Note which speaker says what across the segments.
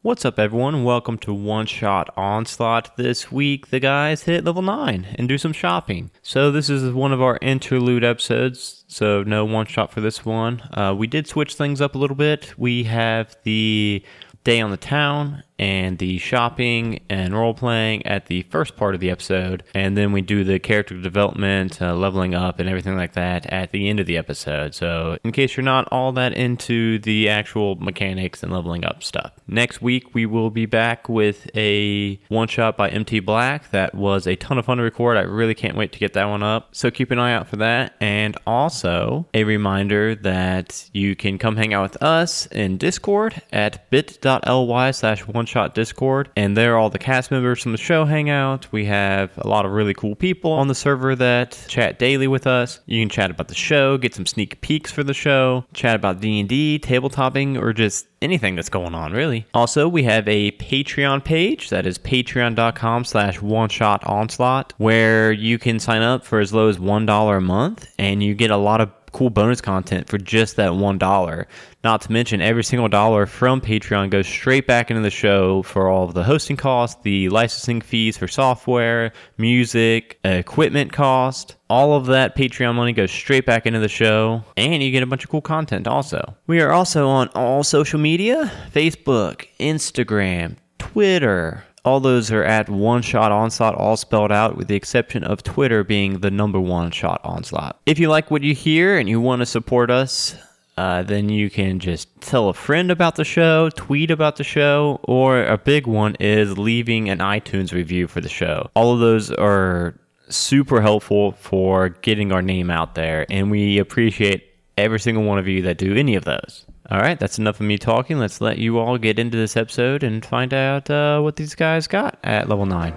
Speaker 1: What's up, everyone? Welcome to One Shot Onslaught. This week, the guys hit level 9 and do some shopping. So, this is one of our interlude episodes, so no one shot for this one. Uh, we did switch things up a little bit. We have the day on the town and the shopping and role playing at the first part of the episode, and then we do the character development, uh, leveling up, and everything like that at the end of the episode. So, in case you're not all that into the actual mechanics and leveling up stuff, next week we will be back with a one shot by MT Black. That was a ton of fun to record. I really can't wait to get that one up. So, keep an eye out for that. And also, a reminder that you can come hang out with us in Discord at bit.ly slash one shot discord and there all the cast members from the show hang out we have a lot of really cool people on the server that chat daily with us you can chat about the show get some sneak peeks for the show chat about d&d tabletopping or just anything that's going on really also we have a patreon page that is patreon.com slash one shot onslaught where you can sign up for as low as one dollar a month and you get a lot of cool bonus content for just that one dollar. Not to mention every single dollar from Patreon goes straight back into the show for all of the hosting costs, the licensing fees for software, music, equipment cost. All of that Patreon money goes straight back into the show, and you get a bunch of cool content also. We are also on all social media Facebook, Instagram, Twitter, all those are at one shot onslaught, all spelled out, with the exception of Twitter being the number one shot onslaught. If you like what you hear and you want to support us, uh, then you can just tell a friend about the show, tweet about the show, or a big one is leaving an iTunes review for the show. All of those are super helpful for getting our name out there, and we appreciate every single one of you that do any of those. All right, that's enough of me talking. Let's let you all get into this episode and find out uh, what these guys got at level 9.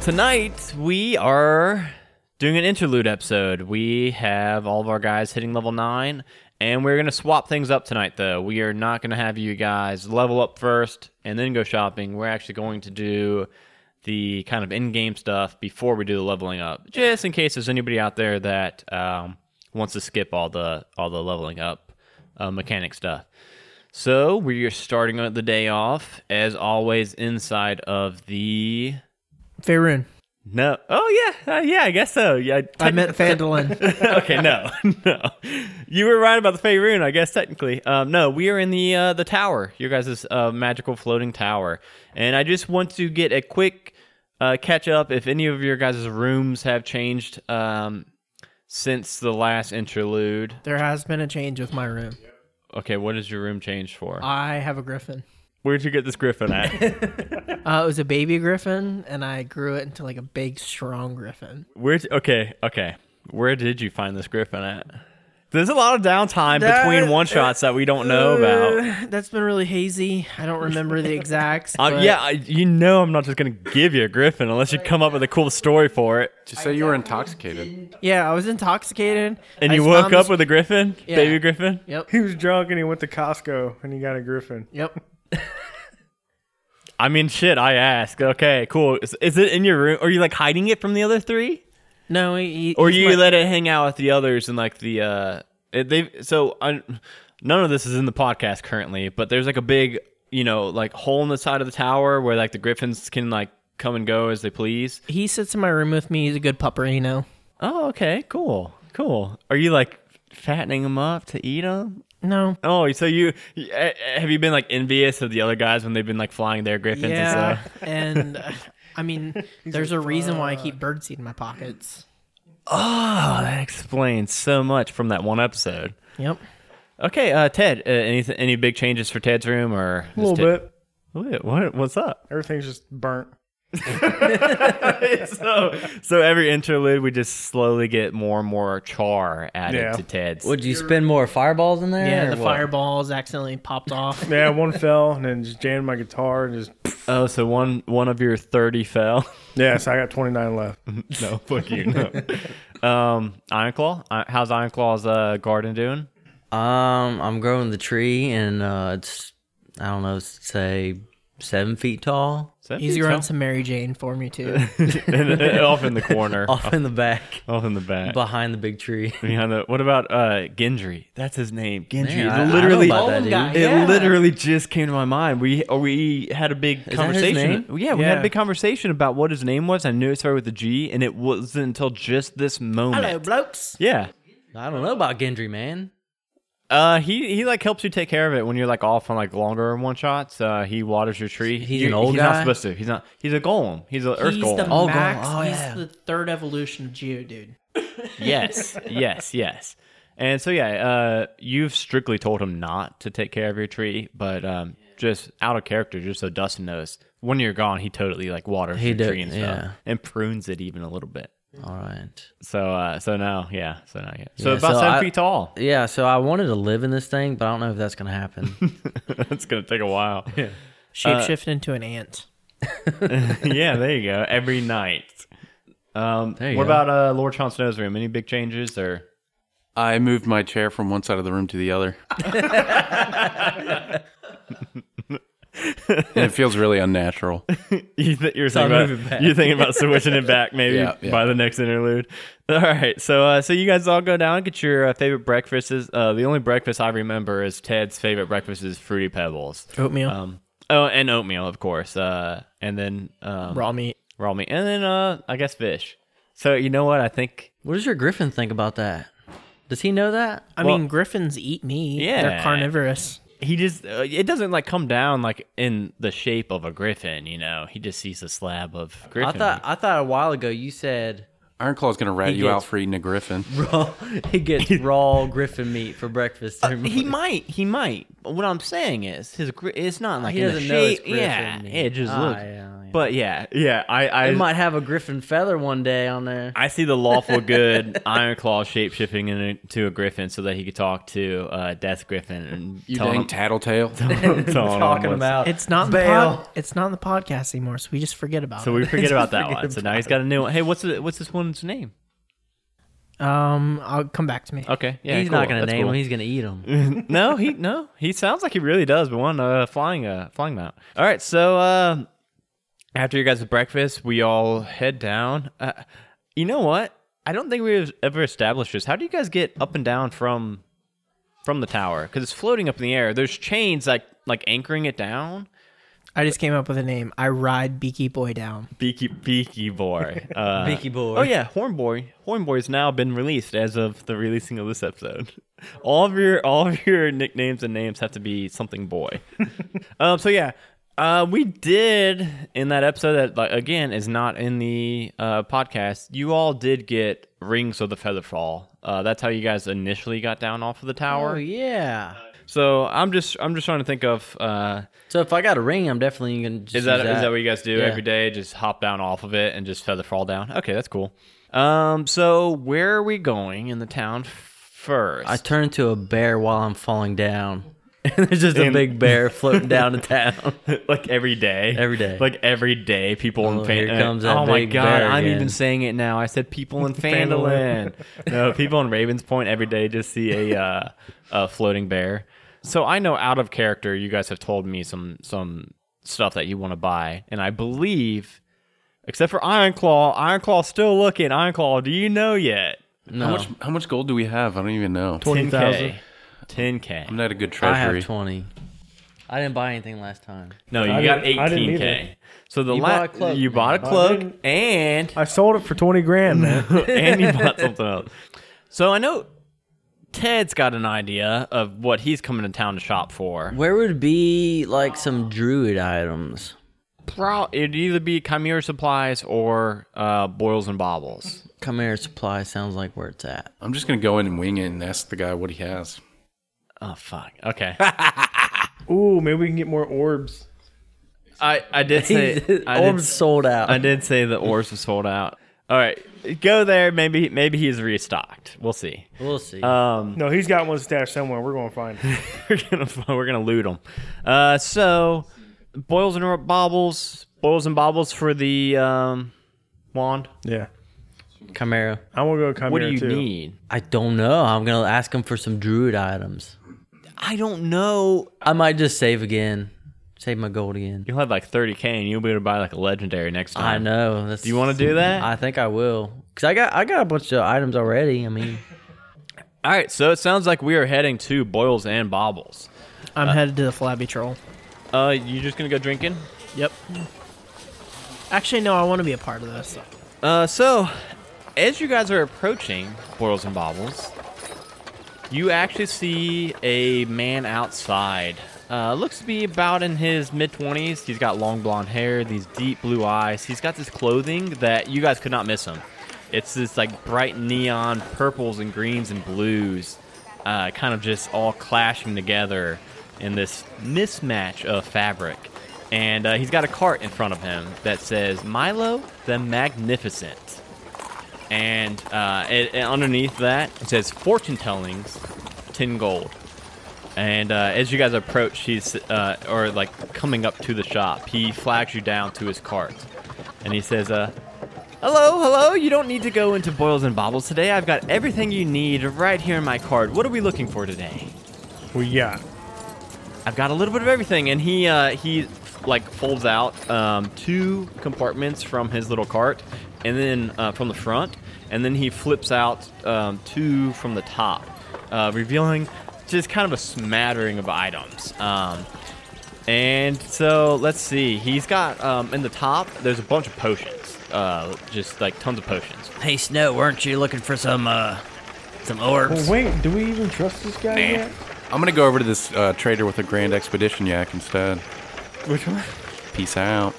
Speaker 1: Tonight, we are doing an interlude episode. We have all of our guys hitting level 9, and we're going to swap things up tonight, though. We are not going to have you guys level up first and then go shopping. We're actually going to do the kind of in game stuff before we do the leveling up, just in case there's anybody out there that um, wants to skip all the, all the leveling up uh, mechanic stuff. So we are starting the day off, as always, inside of the
Speaker 2: Faerun.
Speaker 1: no. Oh yeah, uh, yeah. I guess so. Yeah.
Speaker 2: I meant Fandolin.
Speaker 1: okay. No, no. You were right about the Fey Rune, I guess technically. Um, no, we are in the uh, the tower. Your guys' uh, magical floating tower, and I just want to get a quick uh, catch up. If any of your guys' rooms have changed um, since the last interlude,
Speaker 2: there has been a change with my room.
Speaker 1: okay. What is your room changed for?
Speaker 2: I have a griffin.
Speaker 1: Where'd you get this griffin at?
Speaker 2: Uh, it was a baby griffin, and I grew it into like a big, strong griffin.
Speaker 1: Where? Okay. Okay. Where did you find this griffin at? There's a lot of downtime
Speaker 2: That-
Speaker 1: between one shots that we don't know about.
Speaker 2: Uh, that's been really hazy. I don't remember the exacts.
Speaker 1: Uh,
Speaker 2: but
Speaker 1: yeah, I, you know I'm not just gonna give you a griffin unless you come up with a cool story for it.
Speaker 3: Did you say you were intoxicated?
Speaker 2: yeah. I was intoxicated,
Speaker 1: And
Speaker 2: I
Speaker 1: you
Speaker 2: just
Speaker 1: woke
Speaker 2: found
Speaker 1: up
Speaker 2: this-
Speaker 1: with a griffin,
Speaker 2: Yeah.
Speaker 1: baby griffin.
Speaker 2: Yep.
Speaker 4: He was drunk and he went to Costco and he got a griffin.
Speaker 2: Yep.
Speaker 1: I mean, shit. I ask. Okay, cool. Is, is it in your room? Are you like hiding it from the other three,
Speaker 2: No, he, he-
Speaker 1: or
Speaker 2: he's
Speaker 1: you
Speaker 2: my-
Speaker 1: let it hang out with the others and like the uh, it- they? So I, none of this is in the podcast currently, but there's like a big, you know, like hole in the side of the tower where like the griffins can like come and go as they please.
Speaker 2: he sits in my room with me. He's a good pupper, you know.
Speaker 1: Oh, okay, cool, cool. Are you like fattening them up to eat them?
Speaker 2: No.
Speaker 1: Oh, so you y- eh, eh, have you been like envious of the other guys when they've been like flying their griffins and
Speaker 2: Yeah,
Speaker 1: stuff?
Speaker 2: and uh, I mean, there's a reason why I keep birdseed in my pockets.
Speaker 1: Oh, that explains so much from that one episode.
Speaker 2: Yep.
Speaker 1: Okay, uh, Ted, uh, any any big changes for Ted's room or
Speaker 4: A little bit.
Speaker 1: Wait, what what's up?
Speaker 4: Everything's just burnt.
Speaker 1: so, so every interlude, we just slowly get more and more char added
Speaker 4: Yeah.
Speaker 1: to Ted's.
Speaker 5: Would you spin more fireballs in there?
Speaker 2: Yeah,
Speaker 5: or
Speaker 2: the
Speaker 5: what?
Speaker 2: fireballs accidentally popped off.
Speaker 4: Yeah, one fell and then just jammed my guitar and just
Speaker 1: oh, so one one of your thirty fell.
Speaker 4: yeah. So I got 29 left.
Speaker 1: no, fuck you. No. um, Ironclaw, I- how's Ironclaw's uh, garden doing?
Speaker 5: Um, I'm growing the tree, and uh, it's I don't know, say seven feet tall,
Speaker 1: Seven
Speaker 2: He's
Speaker 1: feet
Speaker 2: growing
Speaker 1: tall.
Speaker 2: some Mary Jane for me too.
Speaker 1: off in the corner, off,
Speaker 5: off in the back,
Speaker 1: in the back.
Speaker 5: behind the big tree.
Speaker 1: Behind the, what about uh, Gendry? That's his name. Gendry.
Speaker 5: Man, I- I
Speaker 1: it
Speaker 5: don't
Speaker 1: literally,
Speaker 5: know about that,
Speaker 2: Old
Speaker 5: dude.
Speaker 2: guy.
Speaker 1: it
Speaker 2: Yeah.
Speaker 1: literally just came to my mind. We uh, we had a big
Speaker 5: his
Speaker 1: conversation.
Speaker 5: name?
Speaker 1: Yeah, we had a
Speaker 4: Yeah.
Speaker 1: big conversation about what his name was. I knew it started with a G, and it wasn't until just this moment.
Speaker 2: Hello, blokes.
Speaker 1: Yeah.
Speaker 5: I don't know about Gendry, man.
Speaker 1: Uh, he he like helps you take care of it when you're like off on like longer one shots. Uh, he waters your tree.
Speaker 5: He's
Speaker 1: You-
Speaker 5: an old
Speaker 1: he's not
Speaker 5: guy?
Speaker 1: supposed to. He's not. He's a golem. He's an earth
Speaker 2: He's
Speaker 1: golem.
Speaker 2: the
Speaker 5: Oh,
Speaker 2: max.
Speaker 5: God. Oh,
Speaker 2: he's
Speaker 5: yeah.
Speaker 2: the third evolution of Geo, dude.
Speaker 1: yes, yes, yes. And so yeah, uh, you've strictly told him not to take care of your tree, but um, just out of character, just so Dustin knows, when you're gone, he totally like waters
Speaker 5: He
Speaker 1: your
Speaker 5: do-
Speaker 1: tree and stuff,
Speaker 5: yeah.
Speaker 1: and prunes it even a little bit.
Speaker 5: All right.
Speaker 1: So uh, so now yeah, so now yeah, so
Speaker 5: Yeah,
Speaker 1: about
Speaker 5: so
Speaker 1: seven
Speaker 5: I-
Speaker 1: feet tall.
Speaker 5: Yeah, so I wanted to live in this thing, but I don't know if that's gonna happen.
Speaker 1: That's gonna take a while. Yeah. Uh,
Speaker 2: Shapeshift into an ant.
Speaker 1: yeah, there you go. Every night. Um,
Speaker 5: There you
Speaker 1: what
Speaker 5: go.
Speaker 1: about uh, Lord Sean Snow's room? Any big changes or?
Speaker 3: I moved my chair from one side of the room to the other. and it feels really unnatural.
Speaker 1: You th- you're,
Speaker 5: I'll
Speaker 1: thinking
Speaker 5: move it
Speaker 1: about,
Speaker 5: back.
Speaker 1: you're thinking about switching it back maybe
Speaker 3: Yeah, yeah.
Speaker 1: by the next interlude. All right, so uh, so you guys all go down get your uh, favorite breakfasts. Uh, the only breakfast I remember is Ted's favorite breakfast is fruity pebbles.
Speaker 2: Oatmeal,
Speaker 1: Um, oh, and oatmeal of course, uh, and then um,
Speaker 2: raw meat.
Speaker 1: raw meat, and then uh, I guess fish. So you know what I think
Speaker 5: what does your Griffin think about that? Does he know that?
Speaker 2: I
Speaker 1: well-
Speaker 2: mean, griffins eat meat.
Speaker 1: Yeah.
Speaker 2: they're carnivorous.
Speaker 1: he just uh, it doesn't like come down like in the shape of a griffin you know he just sees a slab of griffin
Speaker 5: I thought I thought a while ago you said
Speaker 3: Ironclaw's going to rat
Speaker 5: He
Speaker 3: you out
Speaker 5: gets-
Speaker 3: for eating a griffin.
Speaker 5: raw, he gets raw Griffin meat for breakfast. every
Speaker 1: he
Speaker 5: morning.
Speaker 1: might he might but what i'm saying is his gri- it's not like
Speaker 5: He
Speaker 1: in
Speaker 5: doesn't
Speaker 1: the
Speaker 5: know it's
Speaker 1: shape
Speaker 5: griffin
Speaker 1: yeah
Speaker 5: meat.
Speaker 1: it just
Speaker 5: Ah,
Speaker 1: looks
Speaker 5: yeah, yeah.
Speaker 1: but yeah yeah i i
Speaker 5: He might have a Griffin feather one day on there.
Speaker 1: I see the lawful good Iron Claw shape shifting into a griffin so that he could talk to uh, Death Griffin and
Speaker 3: You
Speaker 1: tell
Speaker 3: dang
Speaker 1: him,
Speaker 3: tattletale.
Speaker 1: telling him
Speaker 5: talking
Speaker 1: what's-
Speaker 5: about
Speaker 2: It's not in the
Speaker 5: Bail.
Speaker 2: pod, It's not in the podcast anymore, so we just forget about
Speaker 1: So
Speaker 2: it.
Speaker 1: we forget about that
Speaker 5: Forget
Speaker 1: one. So now he's got a new one. Hey, what's the, what's this one's name?
Speaker 2: Um, I'll come back to me.
Speaker 1: Okay, yeah,
Speaker 5: he's
Speaker 1: cool.
Speaker 5: not gonna
Speaker 1: That's
Speaker 5: name
Speaker 1: cool.
Speaker 5: him. He's gonna eat him.
Speaker 1: no, he no, he sounds like he really does, but one uh, flying uh, flying mount. All right, so uh, after you guys' breakfast, we all head down. Uh, you know what? I don't think we've ever established this. How do you guys get up and down from from the tower? Because it's floating up in the air. There's chains like like anchoring it down.
Speaker 2: I just came up with a name. I ride Beaky Boy down.
Speaker 1: Beaky Beaky Boy. Uh,
Speaker 5: Beaky Boy.
Speaker 1: Oh yeah, Horn Boy. Horn Boy has now been released as of the releasing of this episode. All of your all of your nicknames and names have to be something boy. um. So yeah. Uh, we did in that episode that like, again is not in the uh, podcast. You all did get rings of the Featherfall. Uh, that's how you guys initially got down off of the
Speaker 5: Oh
Speaker 1: tower.
Speaker 5: yeah.
Speaker 1: So I'm just I'm just trying to think of uh,
Speaker 5: So if I got a ring, I'm definitely gonna. Just
Speaker 1: is that,
Speaker 5: use
Speaker 1: is that what you guys do
Speaker 5: Yeah.
Speaker 1: every day? Just hop down off of it and just feather fall down. Okay, that's cool. Um, so where are we going in the town first?
Speaker 5: I turn into a bear while I'm falling down. And there's just a
Speaker 1: And-
Speaker 5: big bear floating down the town.
Speaker 1: like every day,
Speaker 5: Every day.
Speaker 1: like every day, people in
Speaker 5: Oh,
Speaker 1: fan-
Speaker 5: here comes that
Speaker 1: oh my
Speaker 5: big
Speaker 1: god,
Speaker 5: bear
Speaker 1: I'm
Speaker 5: again.
Speaker 1: even saying it now. I said people in Fandolin.
Speaker 4: Fandolin.
Speaker 1: no, people in Ravens Point every day just see a uh, a floating bear. So I know out of character, you guys have told me some some stuff that you want to buy, and I believe, except for Iron Claw, Iron Claw's still looking. Iron Claw, do you know yet?
Speaker 5: No,
Speaker 3: How much how much gold do we have? I don't even know.
Speaker 4: 20,000.
Speaker 1: 10k.
Speaker 3: I'm not a good
Speaker 5: I
Speaker 3: treasury.
Speaker 5: have twenty. I didn't buy anything last time.
Speaker 1: No, you
Speaker 4: I
Speaker 1: got
Speaker 4: didn't- I didn't
Speaker 1: 18k. So the
Speaker 5: You
Speaker 1: la-
Speaker 5: bought a cloak,
Speaker 1: you
Speaker 5: man.
Speaker 1: bought a
Speaker 4: I
Speaker 1: cloak
Speaker 4: didn't.
Speaker 1: and
Speaker 4: I sold it for 20 grand, man.
Speaker 1: and you bought something else. So I know Ted's got an idea of what he's coming to town to shop for.
Speaker 5: Where would be like some druid items?
Speaker 1: Pro- it'd either be Chimera supplies or uh, boils and bobbles.
Speaker 5: Chimera supply sounds like where it's at.
Speaker 3: I'm just going to go in and wing it and ask the guy what he has.
Speaker 1: Oh fuck. Okay.
Speaker 4: Ooh, maybe we can get more orbs.
Speaker 1: I, I did say I
Speaker 5: Orb's
Speaker 1: did,
Speaker 5: Oh, sold out.
Speaker 1: I did say the orbs was sold out. All right, go there. Maybe maybe he's restocked. We'll see.
Speaker 5: We'll see.
Speaker 1: Um,
Speaker 4: No, he's got one stashed somewhere. We're going to find it.
Speaker 1: we're gonna we're gonna loot them. Uh, so boils and bobbles, boils and bobbles for the um, wand.
Speaker 4: Yeah.
Speaker 5: Chimera.
Speaker 4: I'm going to go come
Speaker 1: What do
Speaker 4: here
Speaker 1: you
Speaker 4: too.
Speaker 1: need?
Speaker 5: I don't know. I'm gonna ask him for some druid items.
Speaker 1: I don't know.
Speaker 5: I might just save again. Save my gold again.
Speaker 1: You'll have like 30k, and you'll be able to buy like a legendary next time.
Speaker 5: I know. That's,
Speaker 1: Do you want to do that?
Speaker 5: I think I will. Cause I got I got a bunch of items already. I mean,
Speaker 1: All right. So it sounds like we are heading to boils and bobbles.
Speaker 2: I'm headed to the flabby troll.
Speaker 1: Uh, you just gonna go drinking?
Speaker 2: Yep. Actually, no. I want to be a part of this.
Speaker 1: Uh, so as you guys are approaching Boils and Bobbles, you actually see a man outside. Uh, looks to be about in his mid 20s. He's got long blonde hair, these deep blue eyes. He's got this clothing that you guys could not miss him. It's this like bright neon purples and greens and blues, uh, kind of just all clashing together in this mismatch of fabric. And uh, he's got a cart in front of him that says Milo the Magnificent and uh, it, it- underneath that it says fortune tellings, ten gold. And uh, as you guys approach, he's uh, or like coming up to the shop, he flags you down to his cart, and he says, uh, "Hello, hello. You don't need to go into boils and bobbles today. I've got everything you need right here in my cart. What are we looking for today?"
Speaker 4: Well, yeah.
Speaker 1: I've got a little bit of everything, and he uh, he like folds out um, two compartments from his little cart, and then uh, from the front, and then he flips out um, two from the top, uh, revealing just kind of a smattering of items. Um, and so let's see, he's got um, in the top. There's a bunch of potions, uh, just like tons of potions.
Speaker 6: Hey, Snow, weren't you looking for some, uh, some
Speaker 4: Well,
Speaker 6: orbs?
Speaker 4: wait. Do we even trust this guy
Speaker 3: Nah.
Speaker 4: yet?
Speaker 3: I'm gonna go over to this uh, trader with a Grand Expedition yak instead.
Speaker 1: Which one?
Speaker 3: Peace out.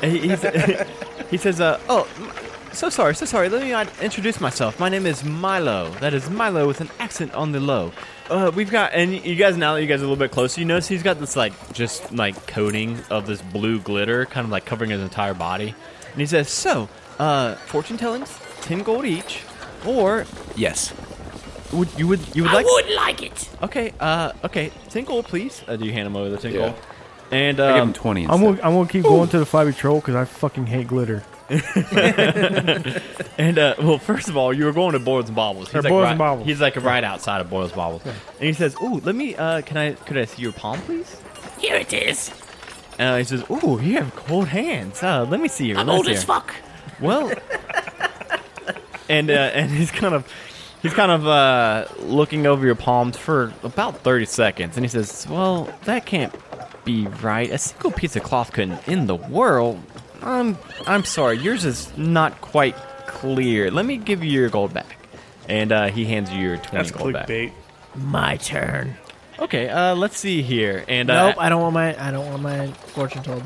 Speaker 1: He, he's- he says, uh, "Oh, m- so sorry, so sorry. Let me uh, introduce myself. My name is Milo. That is Milo with an accent on the low. Uh, we've got, and you guys now that you guys are a little bit closer, you notice he's got this like just like coating of this blue glitter, kind of like covering his entire body. And he says, "So, uh, fortune tellings, ten gold each, or
Speaker 3: Yes.
Speaker 1: would you would you would like?
Speaker 6: would like it.
Speaker 1: Okay, uh, okay, ten gold, please. Uh, do you hand him over the ten
Speaker 3: Yeah.
Speaker 1: gold? And
Speaker 3: I give him
Speaker 1: um,
Speaker 3: 20
Speaker 4: I'm
Speaker 3: instead.
Speaker 4: gonna, I'm gonna keep going to the flabby troll because I fucking hate glitter.
Speaker 1: And uh, well, first of all, you were going to Boils and Bobbles. He's
Speaker 4: Or
Speaker 1: like
Speaker 4: Boils
Speaker 1: right,
Speaker 4: and Bobbles.
Speaker 1: He's like right outside of Boils and Bobbles, and he says, "Ooh, let me. Uh, can I? Could I see your palm, please?"
Speaker 6: Here it is.
Speaker 1: And uh, he says, "Ooh, you have cold hands. Uh, let me see your.
Speaker 6: I'm
Speaker 1: let's
Speaker 6: old
Speaker 1: see
Speaker 6: as
Speaker 1: your-
Speaker 6: fuck.
Speaker 1: Well, and uh, and he's kind of he's kind of uh, looking over your palms for about thirty seconds, and he says, "Well, that can't be right. A single piece of cloth couldn't in the world. I'm I'm sorry, yours is not quite clear. Let me give you your gold back." And uh, he hands you your twenty
Speaker 4: That's
Speaker 1: gold back.
Speaker 4: clickbait.
Speaker 2: My turn.
Speaker 1: Okay, uh, let's see here. And uh,
Speaker 2: Nope. I don't want my. I don't want my fortune told.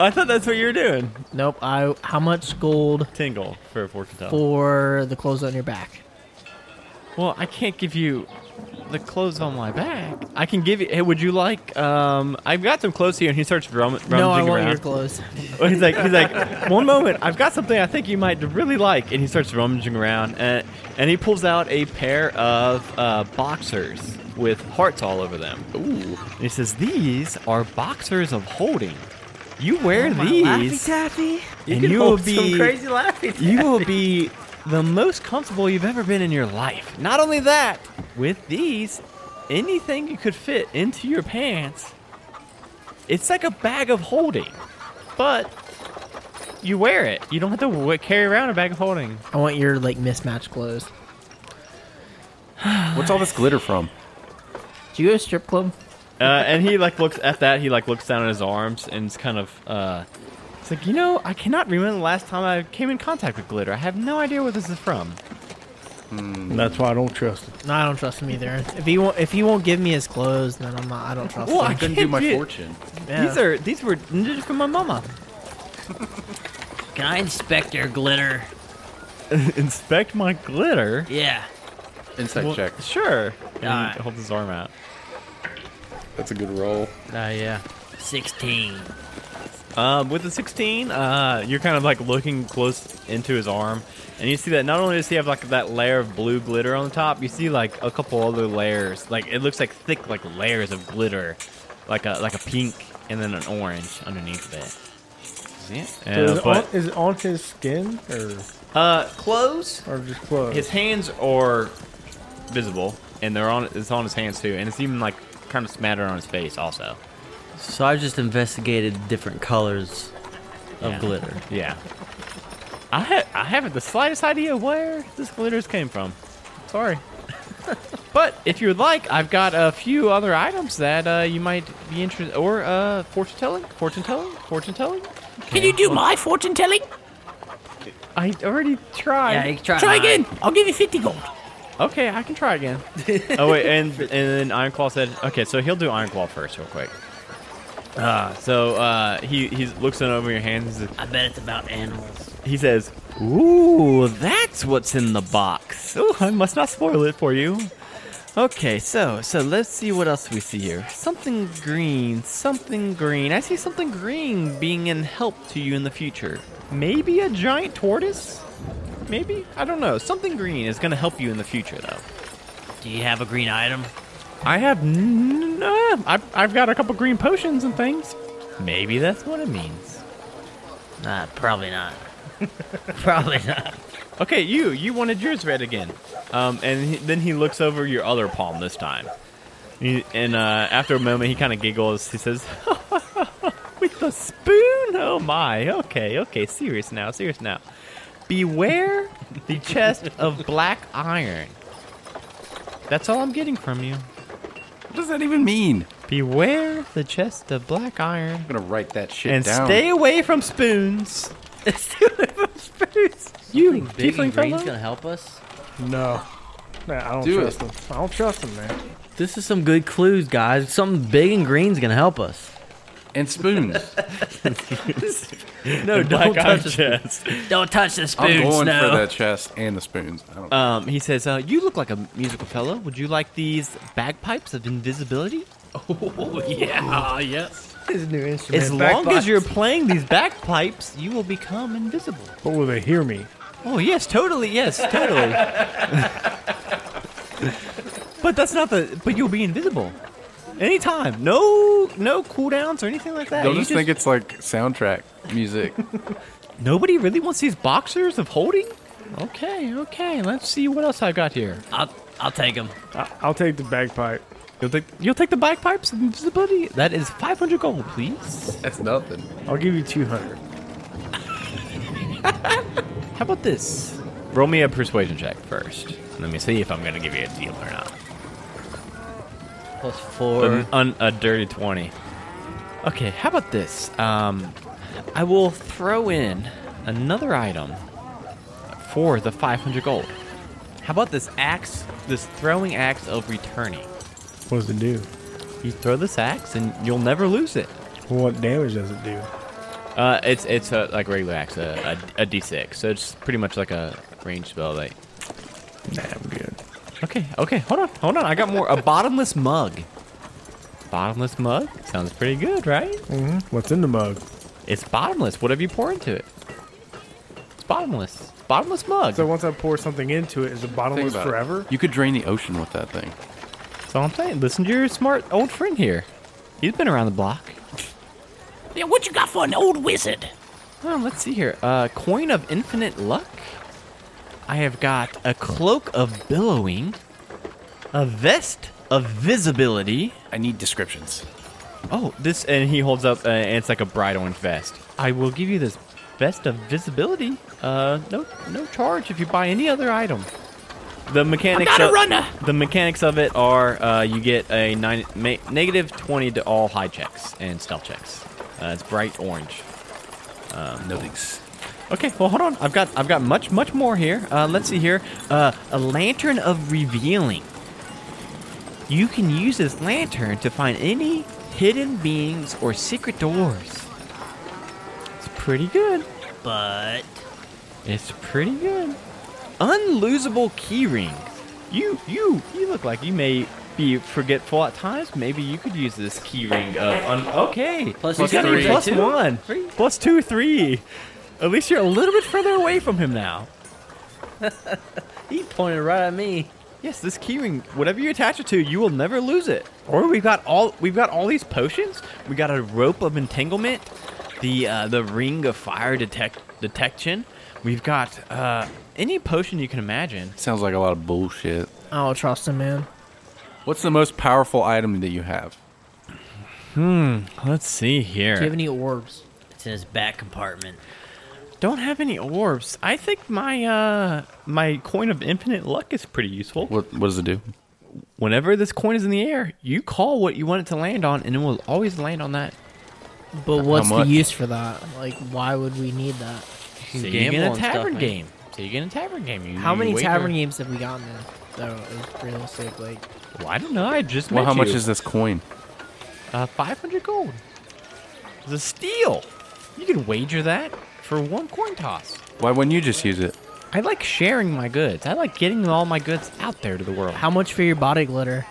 Speaker 1: I thought that's what you were doing.
Speaker 2: Nope. I. How much gold
Speaker 1: Ten gold for a fortune teller.
Speaker 2: for the clothes on your back?
Speaker 1: Well, I can't give you the clothes on my back. I can give you. Hey, would you like? Um, I've got some clothes here, and he starts rum- rummaging
Speaker 2: no, I want
Speaker 1: around.
Speaker 2: your clothes.
Speaker 1: he's like, he's like, one moment, I've got something I think you might really like, and he starts rummaging around, and and he pulls out a pair of uh, boxers with hearts all over them. Ooh. And he says, "These are boxers of holding. You
Speaker 2: Oh,
Speaker 1: wear these,
Speaker 2: Taffy.
Speaker 1: and you will be
Speaker 5: laughing.
Speaker 1: you will be the most comfortable you've ever been in your life. Not only that, with these, anything you could fit into your pants, it's like a bag of holding. But you wear it. You don't have to w- carry around a bag of holding.
Speaker 2: I want your like mismatched clothes.
Speaker 3: What's all this glitter from?
Speaker 2: Do you go to strip club?
Speaker 1: Uh, and he like looks at that. He like looks down at his arms and it's kind of. Uh, it's like you know, I cannot remember the last time I came in contact with glitter. I have no idea where this is from.
Speaker 4: That's why I don't trust it.
Speaker 2: No, I don't trust him either. If he won't, if he won't give me his clothes, then I'm not. I don't trust
Speaker 1: Well, I
Speaker 2: him.
Speaker 1: can't
Speaker 3: Couldn't do my
Speaker 1: do-
Speaker 3: fortune.
Speaker 2: Yeah.
Speaker 1: These are these were knitted from my mama.
Speaker 6: Can I inspect your glitter?
Speaker 1: Inspect my glitter.
Speaker 6: Yeah.
Speaker 3: Insight
Speaker 1: Well,
Speaker 3: check.
Speaker 1: Sure. And
Speaker 6: Alright.
Speaker 1: he holds his arm out.
Speaker 3: That's a good roll.
Speaker 5: yeah.
Speaker 6: 16.
Speaker 1: Uh, with the 16, uh, you're kind of like looking close into his arm, and you see that not only does he have like that layer of blue glitter on the top, you see like a couple other layers. Like it looks like thick like layers of glitter, like a like a pink and then an orange underneath of it.
Speaker 3: See it?
Speaker 1: Yeah,
Speaker 4: So is, it on,
Speaker 1: but-
Speaker 4: is it on his skin or
Speaker 1: uh, clothes.
Speaker 4: or just clothes?
Speaker 1: His hands are visible, and they're on. It's on his hands too, and it's even like kind of smattered on his face also.
Speaker 5: So I just investigated different colors of
Speaker 1: Yeah.
Speaker 5: glitter.
Speaker 1: Yeah. I ha- I haven't the slightest idea where this glitters came from. Sorry. but if you'd like, I've got a few other items that uh, you might be interested or uh, fortune telling, fortune telling, fortune telling.
Speaker 6: Can you do my fortune telling?
Speaker 1: I already
Speaker 5: Yeah,
Speaker 1: tried.
Speaker 5: you can try,
Speaker 6: Try
Speaker 5: mine.
Speaker 6: again. I'll give you 50 gold.
Speaker 1: Okay, I can try again. oh wait, and and then Iron Claw said, "Okay, so he'll do Iron Claw first, real quick."
Speaker 6: Ah.
Speaker 1: Uh, so uh, he he looks in over your hands.
Speaker 6: I bet it's about animals.
Speaker 1: He says, "Ooh, that's what's in the box. Ooh, I must not spoil it for you." Okay, so so let's see what else we see here. Something green, something green. I see something green being in help to you in the future. Maybe a giant tortoise. Maybe I don't know. Something green is going to help you in the future, though.
Speaker 6: Do you have a green item?
Speaker 1: I have n- uh, I've, I've got a couple green potions and things. Maybe that's what it means.
Speaker 6: Nah, probably not. probably not.
Speaker 1: Okay, you you wanted yours red again, um, and he, then he looks over your other palm this time, He- and uh, after a moment he kind of giggles. He says, "With the spoon? Oh my! Okay, okay, serious now, serious now. Beware the chest of black iron. That's all I'm getting from you.
Speaker 3: What does that even mean?
Speaker 1: Beware the chest of black iron."
Speaker 3: I'm gonna write that shit
Speaker 1: and
Speaker 3: down.
Speaker 1: stay away from spoons. stay away from spoons. You
Speaker 5: Big and
Speaker 1: tiefling
Speaker 5: green's gonna
Speaker 1: fellow.
Speaker 5: help us.
Speaker 4: no, man, I don't
Speaker 3: Do
Speaker 4: trust
Speaker 3: it.
Speaker 4: him. I don't trust him, man.
Speaker 5: This is some good clues, guys. Something big and green's gonna help us.
Speaker 3: and spoons.
Speaker 5: No,
Speaker 1: Black iron
Speaker 5: us.
Speaker 1: chest.
Speaker 6: Don't touch the spoons,
Speaker 3: I'm going
Speaker 6: no.
Speaker 3: for that chest and the spoons. I don't know.
Speaker 1: Um, he says, uh, "You look like a musical fellow. Would you like these bagpipes of invisibility?
Speaker 6: Oh, yeah, yes.
Speaker 4: His new instrument.
Speaker 1: As long as you're playing these bagpipes, you will become invisible."
Speaker 4: but will they hear me?
Speaker 1: Oh yes, totally. Yes, totally. but that's not the. But you'll be invisible. Anytime. No, no cooldowns or anything like that.
Speaker 3: They'll
Speaker 1: You
Speaker 3: just, think it's like soundtrack music.
Speaker 1: Nobody really wants these boxers of holding? Okay, okay. Let's see what else I got here.
Speaker 6: I'll, I'll take them.
Speaker 4: I, I'll take the bagpipe.
Speaker 1: You'll take, you'll take the bagpipes and invisibility? That is 500 gold, please.
Speaker 3: That's nothing.
Speaker 4: I'll give you two hundred.
Speaker 1: How about this? Roll me a persuasion check first. Let me see if I'm going to give you a deal or not.
Speaker 5: Plus four.
Speaker 1: An- un- a dirty 20. Okay, how about this? Um, I will throw in another item for the 500 gold. How about this axe, this throwing axe of returning?
Speaker 4: What does it do?
Speaker 1: You throw this axe and you'll never lose it.
Speaker 4: What damage does it do?
Speaker 1: Uh, it's it's a like regular axe, a, a, a d6. So it's pretty much like a range spell. Like,
Speaker 4: Nah, I'm good.
Speaker 1: okay, okay, hold on, hold on. I got more. A bottomless mug. Bottomless mug sounds pretty good, right?
Speaker 4: hmm What's in the mug?
Speaker 1: It's bottomless. Whatever you pour into it, it's bottomless. Bottomless mug.
Speaker 4: So once I pour something into it, is it
Speaker 3: Think
Speaker 4: bottomless
Speaker 3: about it.
Speaker 4: forever?
Speaker 3: You could drain the ocean with that thing.
Speaker 1: That's all I'm saying. Listen to your smart old friend here. He's been around the block.
Speaker 6: Yeah, what you got for an old wizard?
Speaker 1: Oh, let's see here. Uh, coin of infinite luck. I have got a cloak of billowing, a vest of visibility.
Speaker 3: I need descriptions.
Speaker 1: Oh, this, and he holds up, uh, and it's like a bright orange vest. I will give you this vest of visibility. Uh, no, no charge if you buy any other item. The mechanics.
Speaker 6: not a
Speaker 1: of-
Speaker 6: runner.
Speaker 1: The mechanics of it are uh, you get a nine, ma- negative twenty to all high checks and stealth checks. Uh, it's bright orange.
Speaker 3: No thanks.
Speaker 1: Okay, well, hold on. I've got I've got much much more here. Uh, let's see here. Uh, a lantern of revealing. You can use this lantern to find any hidden beings or secret doors. It's pretty good.
Speaker 6: But
Speaker 1: It's pretty good. Unlosable key rings. You you you look like you may you forgetful at times, maybe you could use this keyring of. Un- okay.
Speaker 5: Plus
Speaker 1: You
Speaker 5: he's
Speaker 1: got
Speaker 5: three.
Speaker 1: me plus
Speaker 5: Two?
Speaker 1: one. Plus two, three. At least you're a little bit further away from him now.
Speaker 5: He pointed right at me.
Speaker 1: Yes, this keyring, whatever you attach it to, you will never lose it. Or we've got all we've got all these potions. We got a rope of entanglement, the uh, the ring of fire detect detection. We've got uh, any potion you can imagine.
Speaker 3: Sounds like a lot of bullshit.
Speaker 2: I don't trust him, man.
Speaker 3: What's the most powerful item that you have?
Speaker 1: Let's see here.
Speaker 2: Do you have any orbs?
Speaker 5: It's in his back compartment.
Speaker 1: Don't have any orbs. I think my uh my coin of infinite luck is pretty useful.
Speaker 3: What What does it do?
Speaker 1: Whenever this coin is in the air, you call what you want it to land on, and it will always land on that.
Speaker 2: But what's the
Speaker 3: much?
Speaker 2: use for that? Like, why would we need that?
Speaker 1: So
Speaker 5: can
Speaker 1: you get
Speaker 5: gamble
Speaker 1: in a
Speaker 5: and stuff,
Speaker 1: tavern
Speaker 5: man.
Speaker 1: game. So you get in a tavern game. You,
Speaker 2: How
Speaker 1: you
Speaker 2: many
Speaker 1: wait
Speaker 2: tavern
Speaker 1: your-
Speaker 2: games have we gotten in? Though, it's realistic. Like,
Speaker 1: Well, I don't know. I just
Speaker 3: Well,
Speaker 1: met
Speaker 3: how much
Speaker 1: you.
Speaker 3: is this coin?
Speaker 1: uh, five hundred gold? It's a steal. You can wager that for one coin toss.
Speaker 3: Why wouldn't you just use it?
Speaker 1: I like sharing my goods. I like getting all my goods out there to the world.
Speaker 2: how much for your body glitter?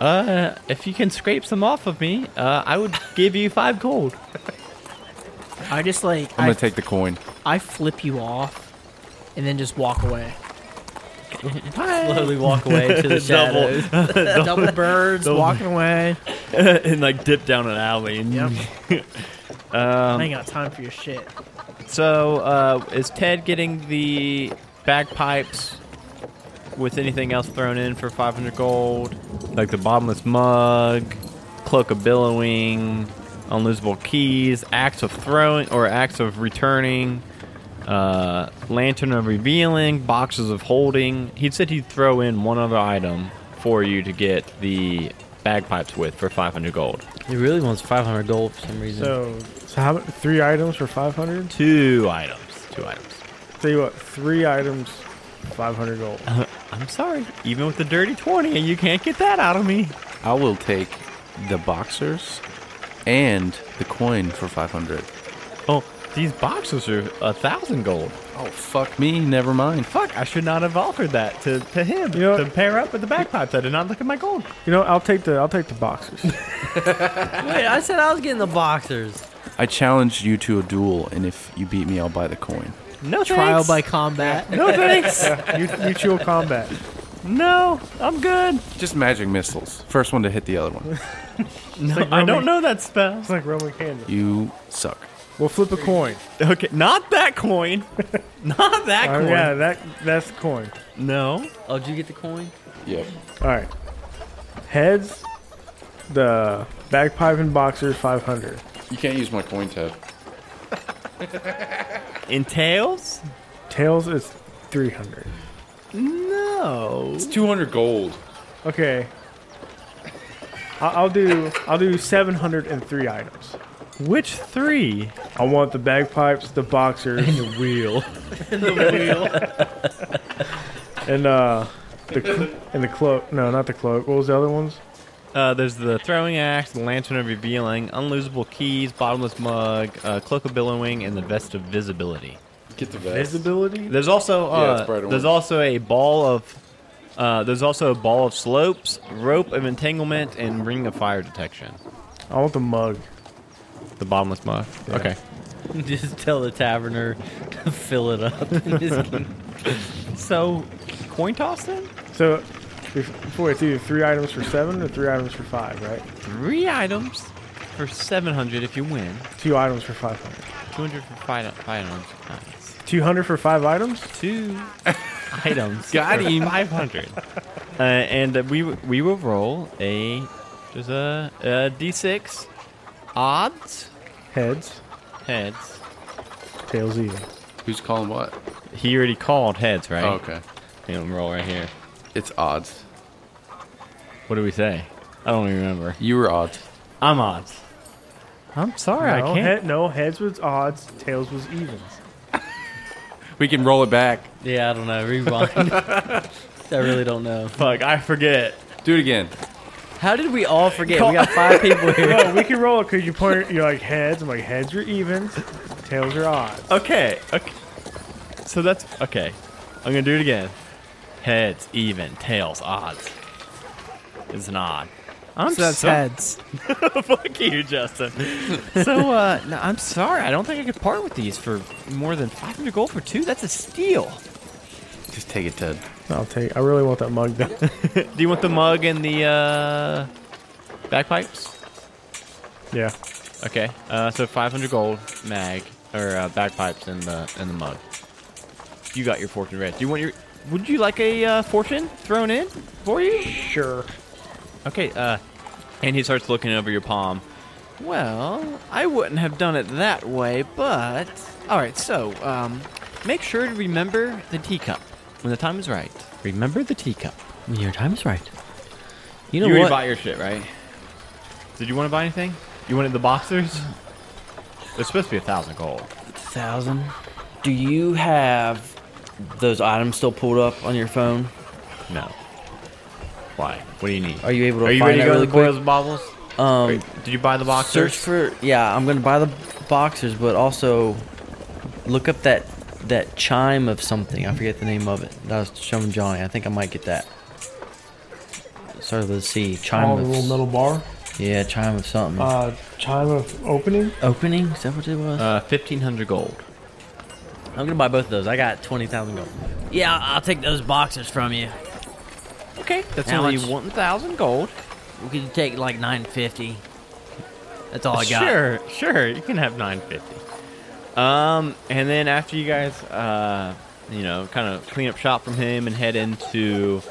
Speaker 1: Uh, if you can scrape some off of me, uh, I would give you five gold.
Speaker 2: I just like
Speaker 3: I'm
Speaker 2: I,
Speaker 3: gonna take the coin.
Speaker 2: I flip you off, and then just walk away.
Speaker 5: Slowly walk away into the shadows.
Speaker 2: Double birds walking away.
Speaker 1: and like dip down an alley. And
Speaker 2: Yep. I ain't got time for your shit.
Speaker 1: So uh, is Ted getting the bagpipes with anything else thrown in for 500 gold? Like the bottomless mug, cloak of billowing, unlosable keys, axe of throwing or axe of returning. Uh, lantern of revealing, boxes of holding. He said he'd throw in one other item for you to get the bagpipes with for 500 gold.
Speaker 5: He really wants 500 gold for some reason.
Speaker 4: So, so how mu- three items for 500?
Speaker 1: Two items. Two items.
Speaker 4: Tell you what, three items, 500 gold.
Speaker 1: I'm sorry, even with the dirty 20, and you can't get that out of me.
Speaker 3: I will take the boxers and the coin for 500.
Speaker 1: Oh, these boxes are a thousand gold.
Speaker 3: Oh fuck me! Never mind.
Speaker 1: Fuck, I should not have offered that to, to him
Speaker 4: You know-
Speaker 1: to pair up with the bagpipes. I did not look at my gold.
Speaker 4: You know, I'll take the I'll take the boxes.
Speaker 5: Wait, I said I was getting the boxers.
Speaker 3: I challenged you to a duel, and if you beat me, I'll buy the coin.
Speaker 1: No
Speaker 2: Trial
Speaker 1: thanks.
Speaker 2: by combat.
Speaker 1: No thanks.
Speaker 4: Mut- Mutual combat.
Speaker 1: no, I'm good.
Speaker 3: Just magic missiles. First one to hit the other one.
Speaker 1: No,
Speaker 4: like
Speaker 1: I don't
Speaker 4: Roman-
Speaker 1: know that spell.
Speaker 4: It's like Roman candle.
Speaker 3: You suck.
Speaker 4: We'll flip a coin.
Speaker 1: Okay, not that coin. not that
Speaker 4: Oh
Speaker 1: coin.
Speaker 4: yeah, that that's the coin.
Speaker 1: No.
Speaker 5: Oh, did you get the coin?
Speaker 3: Yep.
Speaker 4: All right. Heads, the bagpipe and boxers, 500.
Speaker 3: You can't use my coin tab.
Speaker 1: In tails?
Speaker 4: Tails is 300.
Speaker 1: No.
Speaker 3: It's 200 gold.
Speaker 4: Okay. I- I'll do I'll do 703 items.
Speaker 1: Which three?
Speaker 4: I want the bagpipes, the boxers,
Speaker 1: The wheel.
Speaker 4: and uh, the cl- and the cloak. No, not the cloak. What was the other ones?
Speaker 1: Uh, there's the throwing axe, the lantern of revealing, unlosable keys, bottomless mug, uh, cloak of billowing, and the vest of visibility.
Speaker 3: Get the vest.
Speaker 4: Visibility.
Speaker 1: There's also
Speaker 3: Yeah, it's
Speaker 1: uh,
Speaker 3: brighter
Speaker 1: there's
Speaker 3: orange.
Speaker 1: also a ball of uh, there's also a ball of slopes, rope of entanglement, and ring of fire detection.
Speaker 4: I want the mug.
Speaker 1: The bottomless mug. Okay.
Speaker 5: Just tell the taverner to fill it up.
Speaker 1: So, coin toss then?
Speaker 4: So, bef- before it's either three items for seven or three items for five, right?
Speaker 1: Three items for 700 if you win.
Speaker 4: Two items for 500.
Speaker 1: 200 for five, five items. Nice.
Speaker 4: 200 for five items?
Speaker 1: Two
Speaker 5: Items.
Speaker 1: got him. 500. Uh, and uh, we we will roll a there's a, a d6 odds
Speaker 4: Heads,
Speaker 1: heads.
Speaker 4: tails, even.
Speaker 3: Who's calling what?
Speaker 1: He already called heads, right?
Speaker 3: Oh, okay.
Speaker 1: Let me roll right here.
Speaker 3: It's odds.
Speaker 1: What do we say? I don't even remember.
Speaker 3: You were odds.
Speaker 1: I'm odds. I'm sorry,
Speaker 4: no,
Speaker 1: I can't.
Speaker 4: Head, no, heads was odds, tails was evens.
Speaker 3: We can roll it back.
Speaker 5: Yeah, I don't know. Rewind. I really don't know.
Speaker 1: Fuck, I forget.
Speaker 3: Do it again.
Speaker 5: How did we all forget? We got five people here.
Speaker 4: no, we can roll it because you point. You're like heads. I'm like heads are evens, tails are odds.
Speaker 1: Okay, okay. So that's okay. I'm gonna do it again. Heads, even, tails, odds.
Speaker 7: It's not.
Speaker 1: I'm
Speaker 2: So that's
Speaker 1: so-
Speaker 2: heads.
Speaker 7: Fuck you, Justin.
Speaker 1: so uh,
Speaker 7: No, I'm sorry. I don't think I could part with these for more than 500 gold for two. That's a steal.
Speaker 3: Just take it, Ted.
Speaker 4: I'll take. I really want that mug though.
Speaker 1: do you want the mug and the uh, bagpipes?
Speaker 4: yeah.
Speaker 1: Okay. Uh, so 500 gold mag or uh, bagpipes in the in the mug. You got your fortune read. Do you want your? Would you like a uh, fortune thrown in for you?
Speaker 4: Sure.
Speaker 1: Okay. Uh, and he starts looking over your palm. Well, I wouldn't have done it that way, but all right. So, um, make sure to remember the teacup when the time is right. Remember the teacup.
Speaker 5: Your time's right. You know
Speaker 1: You, already
Speaker 5: what?
Speaker 1: bought your shit, right? Did you want to buy anything? You wanted the boxers? They're supposed to be a thousand gold.
Speaker 5: Thousand. Do you have those items still pulled up on your phone?
Speaker 1: No. Why? What do you need?
Speaker 5: Are you able to?
Speaker 1: Are you
Speaker 5: find
Speaker 1: ready to
Speaker 5: that
Speaker 1: go to
Speaker 5: really
Speaker 1: the Boils
Speaker 5: quick?
Speaker 1: and Bobbles?
Speaker 5: Um,
Speaker 1: Wait, did you buy the
Speaker 5: search
Speaker 1: boxers?
Speaker 5: for. Yeah, I'm gonna buy the boxers, but also look up that that chime of something. I forget the name of it. That I was showing Johnny. I think I might get that. Start with a C. Chime
Speaker 4: All the
Speaker 5: of.
Speaker 4: little metal bar.
Speaker 5: Yeah, chime of something.
Speaker 4: Uh, time of opening.
Speaker 5: Opening? Is that what it was?
Speaker 1: Uh, fifteen hundred gold.
Speaker 5: I'm gonna buy both of those. I got twenty thousand gold.
Speaker 6: Yeah, I'll take those boxers from you.
Speaker 1: Okay, that's
Speaker 6: How
Speaker 1: only
Speaker 6: much?
Speaker 1: one thousand gold.
Speaker 6: We could take like 950. That's
Speaker 5: Uh,
Speaker 6: all I got.
Speaker 1: sure, sure, you can have nine fifty. Um, and then after you guys, uh, you know, kind of clean up shop from him and head into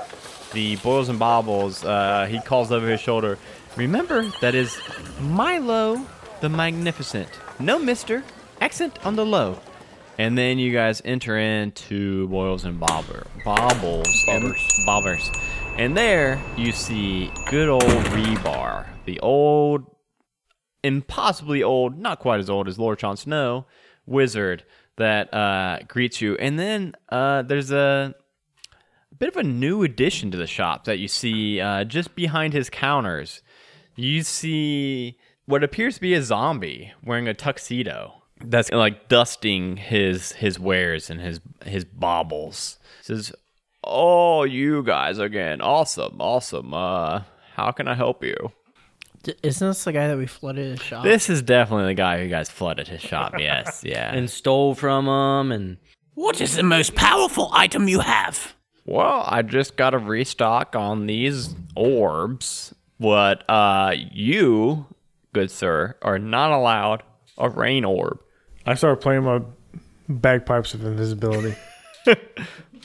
Speaker 1: the boils and bobbles, uh, he calls over his shoulder. Remember, that is Milo the Magnificent. No Mister. Accent on the low. And then you guys enter into Boils and Bobber, Bobbles, bobbers, bobbers, and there you see good old Rebar, the old impossibly old, not quite as old as Lord Jon Snow, wizard that uh, greets you. And then uh, there's a bit of a new addition to the shop that you see uh, just behind his counters. You see what appears to be a zombie wearing a tuxedo that's like dusting his his wares and his his baubles. Says, "Oh, you guys again. Awesome. Awesome. Uh, how can I help you?"
Speaker 2: D- Isn't this the guy that we flooded his shop?
Speaker 1: This is definitely the guy who guys flooded his shop. Yes, yeah.
Speaker 5: And stole from them, and
Speaker 6: What is the most powerful item you have?
Speaker 1: well, I just got a restock on these orbs, but uh, you, good sir, are not allowed a rain orb.
Speaker 4: I started playing my bagpipes of invisibility.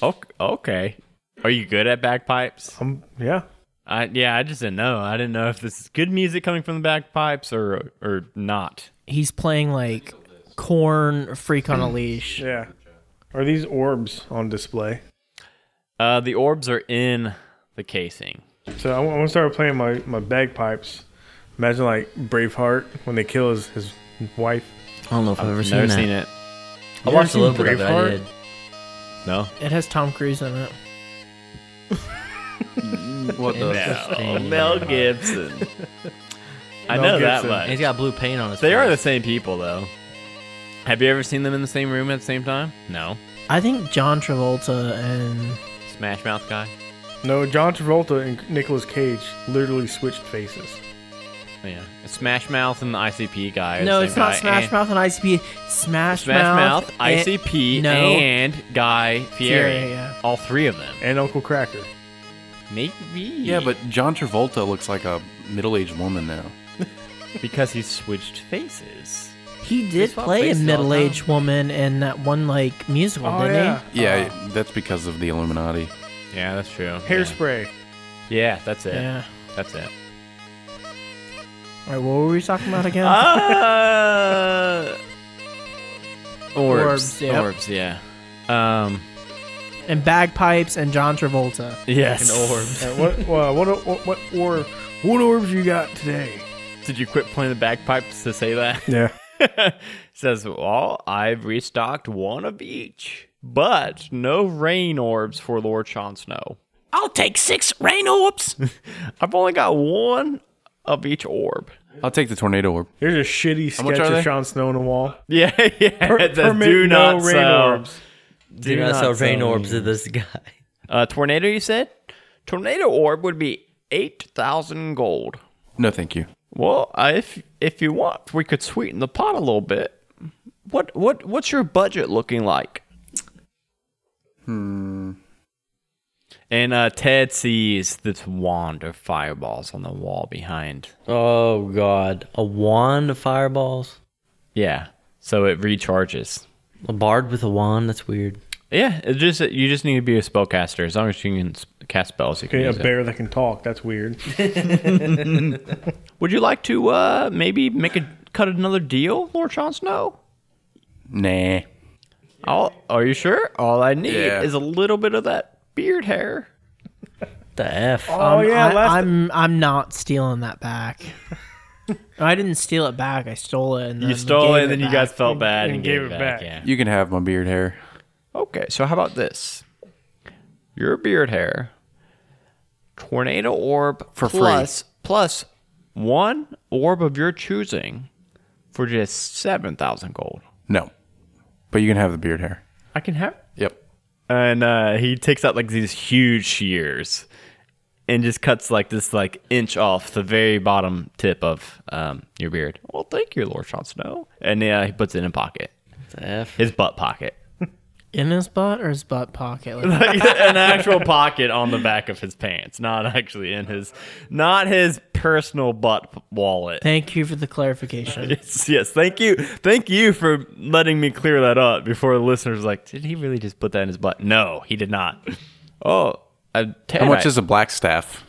Speaker 1: Okay. okay. Are you good at bagpipes?
Speaker 4: Um, yeah.
Speaker 1: I, yeah, I just didn't know. I didn't know if this is good music coming from the bagpipes or or not.
Speaker 2: He's playing like corn freak on a leash.
Speaker 4: Yeah. Are these orbs on display?
Speaker 1: Uh, the orbs are in the casing.
Speaker 4: So I want to start playing my, my bagpipes. Imagine like Braveheart when they kill his, his wife.
Speaker 5: I don't know if I've, ever seen
Speaker 1: Never
Speaker 5: that.
Speaker 1: seen it.
Speaker 5: I
Speaker 4: You
Speaker 5: watched a
Speaker 4: ever
Speaker 5: little
Speaker 4: seen
Speaker 5: bit of it. I
Speaker 4: Braveheart?
Speaker 5: did.
Speaker 1: No.
Speaker 2: It has Tom Cruise in it.
Speaker 3: What the?
Speaker 1: Oh, Mel Gibson. I
Speaker 4: Mel
Speaker 1: know that
Speaker 4: Gibson.
Speaker 1: much.
Speaker 5: He's got blue paint on his.
Speaker 1: They are the
Speaker 5: face.
Speaker 1: same people, though. Have you ever seen them in the same room at the same time? No.
Speaker 2: I think John Travolta and
Speaker 1: Smash Mouth guy.
Speaker 4: No, John Travolta and Nicolas Cage literally switched faces.
Speaker 1: Oh, yeah. It's Smash Mouth and the ICP guy. are
Speaker 2: no,
Speaker 1: the
Speaker 2: it's
Speaker 1: same
Speaker 2: not
Speaker 1: guy,
Speaker 2: Smash
Speaker 1: and-
Speaker 2: Mouth and ICP. Eh. Smash,
Speaker 1: Smash Mouth,
Speaker 2: and-
Speaker 1: ICP,
Speaker 2: no.
Speaker 1: and Guy Fieri.
Speaker 2: Fieri, yeah.
Speaker 1: All three of them.
Speaker 4: And Uncle Cracker.
Speaker 1: Maybe.
Speaker 3: Yeah, but John Travolta looks like a middle-aged woman now.
Speaker 1: because he switched faces.
Speaker 2: he did
Speaker 1: swap
Speaker 2: play a
Speaker 1: faces all the time.
Speaker 2: middle-aged woman in that one like musical, didn't
Speaker 3: Yeah, that's because of the Illuminati.
Speaker 1: Yeah, that's true.
Speaker 4: Hairspray.
Speaker 1: Yeah, yeah that's it.
Speaker 2: he? Yeah.
Speaker 1: That's it.
Speaker 2: All right, what were we talking about again?
Speaker 1: uh,
Speaker 2: Orbs, yep.
Speaker 1: Orbs, yeah. Um,
Speaker 2: and bagpipes and John Travolta.
Speaker 1: yes. And orbs.
Speaker 4: All right, Uh, what, what, what, what, what, or, what orbs you got today?
Speaker 1: Did you quit playing the bagpipes to say that?
Speaker 4: Yeah.
Speaker 1: Says, well, I've restocked one of each, but no rain orbs for Lord Sean Snow.
Speaker 6: I'll take six rain orbs.
Speaker 1: I've only got one of each orb.
Speaker 3: I'll take the tornado orb.
Speaker 4: There's a shitty
Speaker 3: much
Speaker 4: sketch
Speaker 3: are they?
Speaker 4: of Sean Snow on the wall.
Speaker 1: Yeah, yeah. it says,
Speaker 4: permit
Speaker 1: do not
Speaker 4: rain
Speaker 1: sell.
Speaker 4: orbs.
Speaker 5: Do not sell rain
Speaker 1: sell.
Speaker 5: orbs to this guy.
Speaker 1: Uh, tornado, you said? Tornado orb would be eight thousand gold.
Speaker 3: No, thank you.
Speaker 1: Well, uh, if if you want, we could sweeten the pot a little bit. What what what's your budget looking like?
Speaker 3: Hmm.
Speaker 1: And uh, Ted sees this wand of fireballs on the wall behind.
Speaker 5: Oh God, a wand of fireballs.
Speaker 1: Yeah, so it recharges.
Speaker 5: A bard with a wand. That's weird.
Speaker 1: Yeah, it just you just need to be a spellcaster. As long as you can s- cast spells, you can.
Speaker 4: Okay, a
Speaker 1: use it.
Speaker 4: bear that can talk. That's weird.
Speaker 1: Would you like to uh, maybe make a cut another deal, Lord Sean Snow?
Speaker 3: Nah.
Speaker 1: All, are you sure? All I need
Speaker 3: Yeah.
Speaker 1: is a little bit of that beard hair.
Speaker 5: The F.
Speaker 4: Oh yeah,
Speaker 2: I,
Speaker 4: last
Speaker 2: I'm I'm not stealing that back. I didn't steal it back. I stole it. And then
Speaker 1: You stole
Speaker 2: gave
Speaker 1: it, and then you
Speaker 2: back.
Speaker 1: guys felt bad and,
Speaker 4: and
Speaker 1: gave, it back. Yeah.
Speaker 3: You can have my beard hair.
Speaker 1: Okay, so how about this? Your beard hair, tornado orb
Speaker 3: For free.
Speaker 1: plus- plus one orb of your choosing for just seven thousand gold.
Speaker 3: No. But you can have the beard hair.
Speaker 1: I can have.
Speaker 3: Yep.
Speaker 1: And uh, he takes out like these huge shears, and just cuts like this like inch off the very bottom tip of um, your beard. Well, thank you, Lord Sean Snow. And uh, he puts it in a pocket,
Speaker 5: The F.
Speaker 1: his butt pocket,
Speaker 2: in his butt or his butt pocket. Like,
Speaker 1: an actual pocket on the back of his pants, not actually in his, not his personal butt wallet.
Speaker 2: thank you for the clarification.
Speaker 1: Yes, yes, thank you, thank you for letting me clear that up. Before the listeners were like, did he really just put that in his butt? No, he did not. Oh, I, Ted,
Speaker 3: How much
Speaker 1: I-
Speaker 3: is a black staff?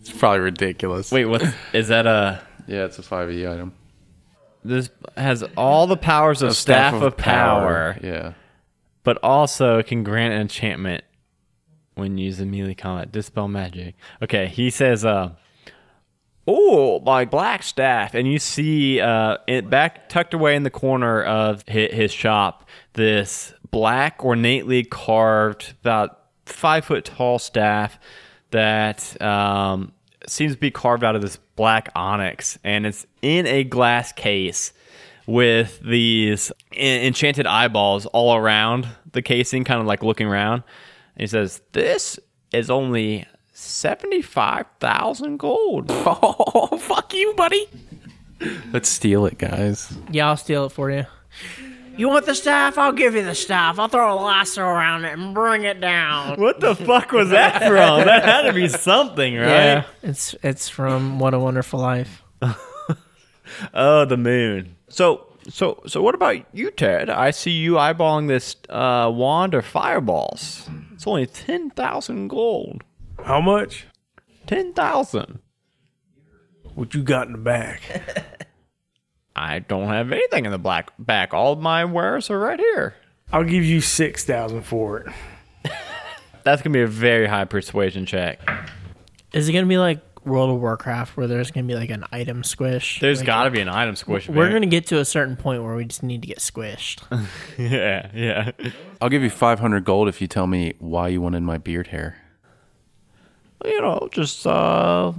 Speaker 3: It's probably ridiculous.
Speaker 1: Wait, what is that? A
Speaker 3: Yeah, it's a 5e item.
Speaker 1: this has all the powers of staff, of, power,
Speaker 3: Yeah.
Speaker 1: but also it can grant an enchantment when used in melee combat. Dispel magic. Okay, he says, uh, "Oh, my black staff," and you see uh, it back tucked away in the corner of his, his shop this black, ornately carved, about five foot tall staff that um, seems to be carved out of this black onyx, and it's in a glass case with these en- enchanted eyeballs all around the casing, kind of like looking around. And he says, This is only 75,000 gold.
Speaker 3: Oh, fuck you, buddy. Let's steal it, guys.
Speaker 2: yeah, I'll steal it for you.
Speaker 6: You want the staff? I'll give you the staff. I'll throw a lasso around it and bring it down.
Speaker 1: what the fuck was that from? That had to be something, right?
Speaker 2: Yeah, it's it's from What a Wonderful Life.
Speaker 1: Oh, the moon. So, so, so, what about you, Ted? I see you eyeballing this uh, wand or fireballs. It's only 10,000 gold.
Speaker 4: How much?
Speaker 1: 10,000.
Speaker 4: What you got in the back?
Speaker 1: I don't have anything in the black back. All of my wares are right here.
Speaker 4: I'll give you six thousand for it.
Speaker 1: That's gonna be a very high persuasion check.
Speaker 2: Is it gonna be like World of Warcraft where there's gonna be like an item squish?
Speaker 1: There's
Speaker 2: There's
Speaker 1: gotta be an item squish.
Speaker 2: We're
Speaker 1: man.
Speaker 2: gonna get to a certain point where we just need to get squished.
Speaker 1: Yeah, yeah.
Speaker 3: I'll give you 500 gold if you tell me why you wanted my beard hair.
Speaker 1: You know, just uh,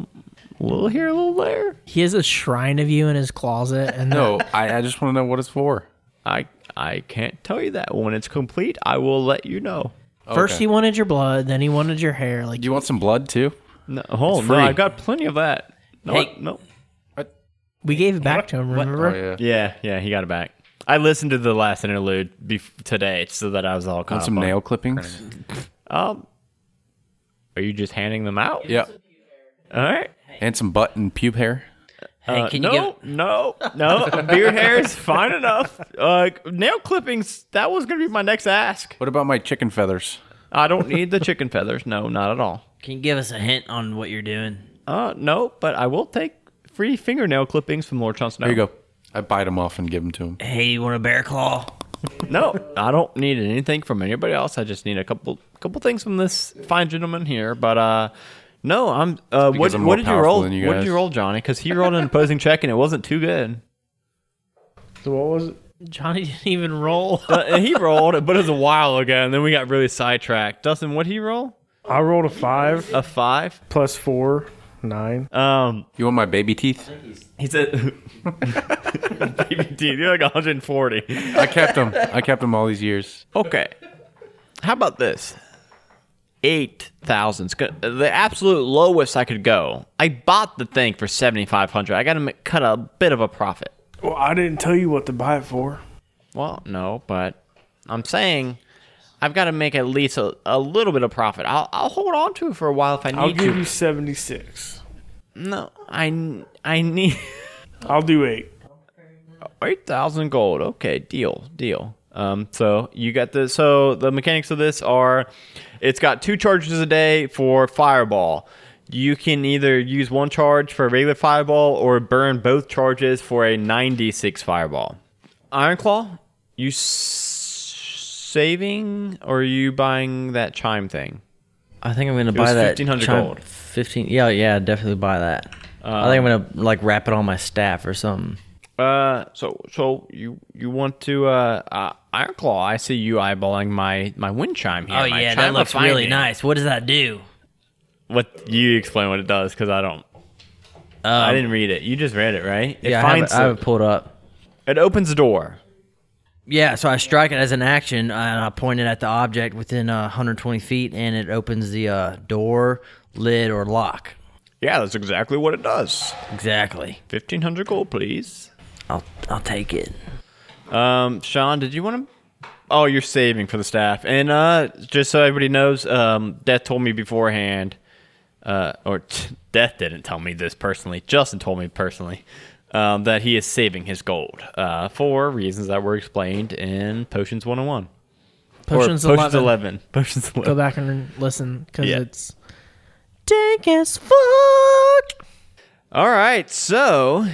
Speaker 1: a little here, a little there.
Speaker 2: He has a shrine of you in his closet, and
Speaker 3: No, I, I just want to know what it's for.
Speaker 1: I I can't tell you that when it's complete. I will let you know.
Speaker 2: first
Speaker 3: Oh, Okay.
Speaker 2: he wanted your blood, then he wanted your hair. Like
Speaker 3: Do you want some blood too?
Speaker 1: No, oh,
Speaker 3: It's
Speaker 1: no,
Speaker 3: free.
Speaker 1: I've got plenty of that. No, I-
Speaker 5: Hey.
Speaker 1: no.
Speaker 2: we gave it back to him.
Speaker 3: Oh,
Speaker 2: Remember?
Speaker 1: Yeah, yeah. He got it back. I listened to the last interlude bef- today so that I was all caught
Speaker 3: Want
Speaker 1: up
Speaker 3: some
Speaker 1: on-
Speaker 3: nail clippings?
Speaker 1: Um, are you just handing them out?
Speaker 3: Yeah.
Speaker 1: All right.
Speaker 3: And some butt and pube hair?
Speaker 6: Hey,
Speaker 1: Uh,
Speaker 6: can you
Speaker 1: no,
Speaker 6: give?
Speaker 1: no, no, Beard hair is fine enough. Uh, nail clippings. That was gonna be my next ask.
Speaker 3: What about my chicken feathers?
Speaker 1: I don't need the chicken feathers. No, not at all.
Speaker 6: Can you give us a hint on what you're doing?
Speaker 1: Uh, no, but I will take free fingernail clippings from Lord Chon Snow.
Speaker 3: There you go. I bite them off and give them to him.
Speaker 6: Hey, you want a bear claw?
Speaker 1: No, I don't need anything from anybody else. I just need a couple, couple things from this fine gentleman here. But uh, no, I'm. Uh, what,
Speaker 3: because I'm
Speaker 1: what
Speaker 3: more
Speaker 1: did you
Speaker 3: powerful
Speaker 1: roll?
Speaker 3: than you
Speaker 1: what did
Speaker 3: guys.
Speaker 1: you roll, Johnny? Because he rolled an opposing check and it wasn't too good.
Speaker 4: So what was it?
Speaker 2: Johnny didn't even roll.
Speaker 1: Uh, and he rolled, it, but it was a while ago, and then we got really sidetracked. Dustin, what he roll?
Speaker 4: I rolled a five
Speaker 1: A five.
Speaker 4: plus four, nine.
Speaker 1: Um,
Speaker 3: You want my baby teeth?
Speaker 1: he said, "Baby teeth, you're like 140."
Speaker 3: I kept them. I kept them all these years.
Speaker 1: Okay, how about this? eight thousand. It's go- The absolute lowest I could go. I bought the thing for seventy five hundred. I got to cut a bit of a profit.
Speaker 4: Well, I didn't tell you what to buy it for.
Speaker 1: Well, no, but I'm saying I've got to make at least a, a little bit of profit. I'll, I'll hold on to it for a while if I need
Speaker 4: I'll give
Speaker 1: to.
Speaker 4: you 76.
Speaker 1: No, I I need
Speaker 4: I'll do eight.
Speaker 1: eight thousand gold. Okay, deal, deal. Um, so you got the so the mechanics of this are, it's got two charges a day for fireball. You can either use one charge for a regular fireball or burn both charges for a ninety-six fireball. Iron Claw, you s- saving or are you buying that chime thing?
Speaker 5: I think I'm gonna
Speaker 1: was
Speaker 5: buy that.
Speaker 1: 1500
Speaker 5: chime-
Speaker 1: gold.
Speaker 5: Fifteen. Yeah, yeah, definitely buy that. I think I'm gonna like wrap it on my staff or something.
Speaker 1: Uh, so so you you want to uh, uh Iron Claw? I see you eyeballing my my wind chime here.
Speaker 5: Oh,
Speaker 1: my chime of finding.
Speaker 5: What does that do?
Speaker 1: What you explain what it does because I don't. I didn't read it. You just read it, right? It
Speaker 5: Um, Yeah, I have, it, I have it pulled up.
Speaker 1: it opens the door.
Speaker 5: Yeah, so I strike it as an action, uh, and I point it at the object within uh, 120 feet, and it opens the uh, door, lid, or lock.
Speaker 1: Yeah, that's exactly what it does.
Speaker 5: Exactly.
Speaker 1: Fifteen hundred gold, please.
Speaker 5: I'll I'll take it.
Speaker 1: Um, Sean, did you want to? Oh, you're saving for the staff. And uh, just so everybody knows, um, Death told me beforehand, uh, or t- Death didn't tell me this personally. Justin told me personally um, that he is saving his gold uh, for reasons that were explained in Potions 101. Or
Speaker 2: Potions,
Speaker 1: Potions
Speaker 2: 11.
Speaker 1: 11. Potions 11.
Speaker 2: Go back and listen because
Speaker 1: Yeah.
Speaker 2: it's dank as fuck.
Speaker 1: All right, so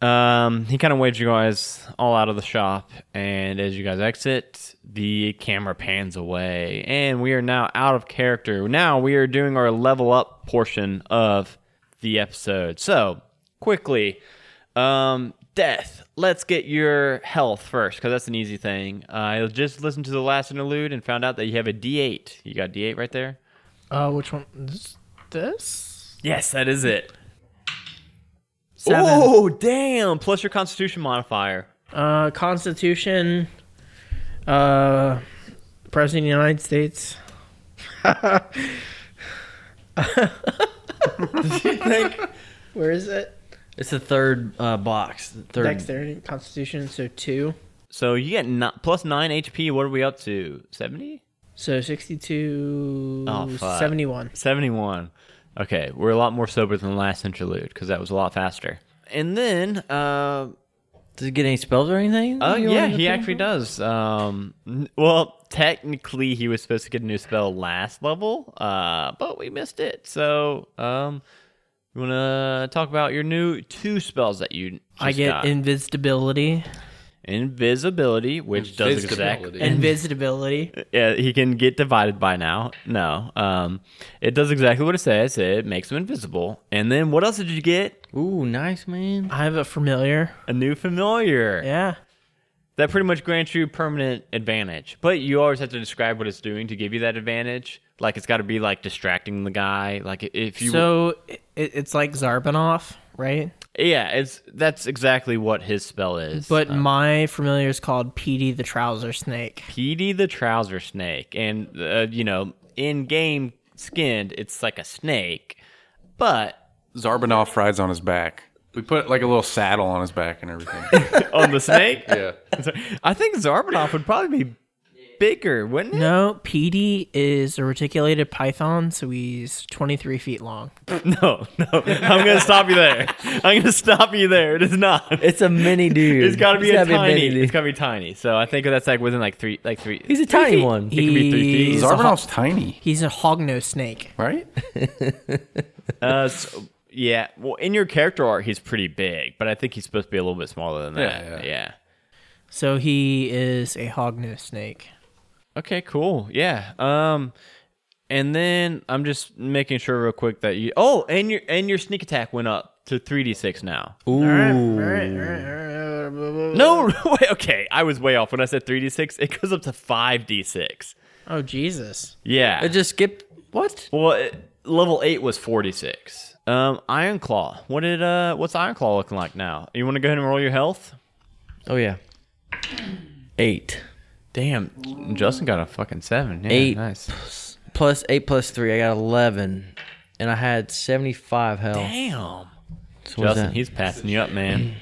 Speaker 1: um, he kind of waves you guys all out of the shop, and as you guys exit, the camera pans away, and we are now out of character. Now we are doing our level up portion of the episode. So quickly, um, death. Let's get your health first, because that's an easy thing. I just listened to the last interlude and found out that you have a D8. You got D8 right there.
Speaker 2: Uh, which one? This? this?
Speaker 1: Yes, that is it.
Speaker 2: Seven.
Speaker 1: Oh, damn. Plus your constitution modifier.
Speaker 2: Uh, Constitution. Uh, President of the United States. Where is it?
Speaker 5: It's the third uh, box. the Third.
Speaker 2: Dexterity, Constitution. So two.
Speaker 1: So you get ni- plus 9 HP. What are we up to? 70?
Speaker 2: So 62,
Speaker 1: Oh, fuck.
Speaker 2: 71.
Speaker 1: 71. Okay, we're a lot more sober than the last interlude because that was a lot faster. And then, uh,
Speaker 5: Does it get any spells or anything?
Speaker 1: oh
Speaker 5: You
Speaker 1: yeah,
Speaker 5: wanna
Speaker 1: he
Speaker 5: do?
Speaker 1: actually does. Um, n- well, technically, he was supposed to get a new spell last level, uh, but we missed it. So, um, you want to talk about your new two spells that you
Speaker 2: I
Speaker 1: just
Speaker 2: get
Speaker 1: got?
Speaker 2: invisibility.
Speaker 1: invisibility, which does exactly
Speaker 3: Invisibility.
Speaker 2: Invisibility.
Speaker 1: Yeah, he can get divided by now. No, um, it does exactly what it says. It makes him invisible. And then what else did you get?
Speaker 5: Ooh, nice man.
Speaker 2: I have a familiar.
Speaker 1: A new familiar.
Speaker 2: Yeah.
Speaker 1: That pretty much grants you permanent advantage. But you always have to describe what it's doing to give you that advantage. Like it's got to be like distracting the guy. Like if you
Speaker 2: so it, it's like Zarbanov, right?
Speaker 1: yeah, it's that's exactly what his spell is.
Speaker 2: But my familiar is called PD the Trouser Snake.
Speaker 1: Petey the Trouser Snake, and uh, you know, in game skinned, it's like a snake, but
Speaker 3: Zarbanoff rides on his back. We put like a little saddle on his back and everything.
Speaker 1: on the snake.
Speaker 3: yeah.
Speaker 1: I think Zarbanoff would probably be bigger, wouldn't it?
Speaker 2: No, PD is a reticulated python, so he's 23 feet long.
Speaker 1: No, no. I'm gonna stop you there. I'm gonna stop you there. It is not.
Speaker 5: It's a mini dude.
Speaker 1: it's gotta be
Speaker 5: It's
Speaker 1: a tiny.
Speaker 5: mini
Speaker 1: it's
Speaker 5: dude.
Speaker 1: gotta be tiny. So I think that's like within like three, like three.
Speaker 5: He's a tiny one.
Speaker 1: It could be three feet.
Speaker 2: He's a ho-
Speaker 3: Zarbanoff's tiny,
Speaker 2: He's a hognose snake.
Speaker 3: right?
Speaker 1: Uh, so- yeah. Well, in your character art, he's pretty big, but I think he's supposed to be a little bit smaller than that.
Speaker 3: Yeah, yeah.
Speaker 2: So he is a hognose snake.
Speaker 1: Okay, cool. Yeah. Um and then I'm just making sure real quick that you Oh, and your and your sneak attack went up to 3d6 now. Ooh. No, wait, okay. I was way off when I said 3d6. It goes up to 5d6.
Speaker 2: Oh, Jesus.
Speaker 1: Yeah.
Speaker 5: I just skipped. What?
Speaker 1: well, it, level 8 was 46. Um Iron Claw. What did uh what's Iron Claw looking like now? You want to go ahead and roll your health?
Speaker 5: Oh yeah. Eight.
Speaker 1: Damn, Justin got a fucking 7. Yeah,
Speaker 5: Eight.
Speaker 1: nice.
Speaker 5: plus eight plus three. I got eleven, and I had seventy-five health.
Speaker 1: Damn.
Speaker 5: So what's
Speaker 1: Justin,
Speaker 5: that?
Speaker 1: he's passing you up, man.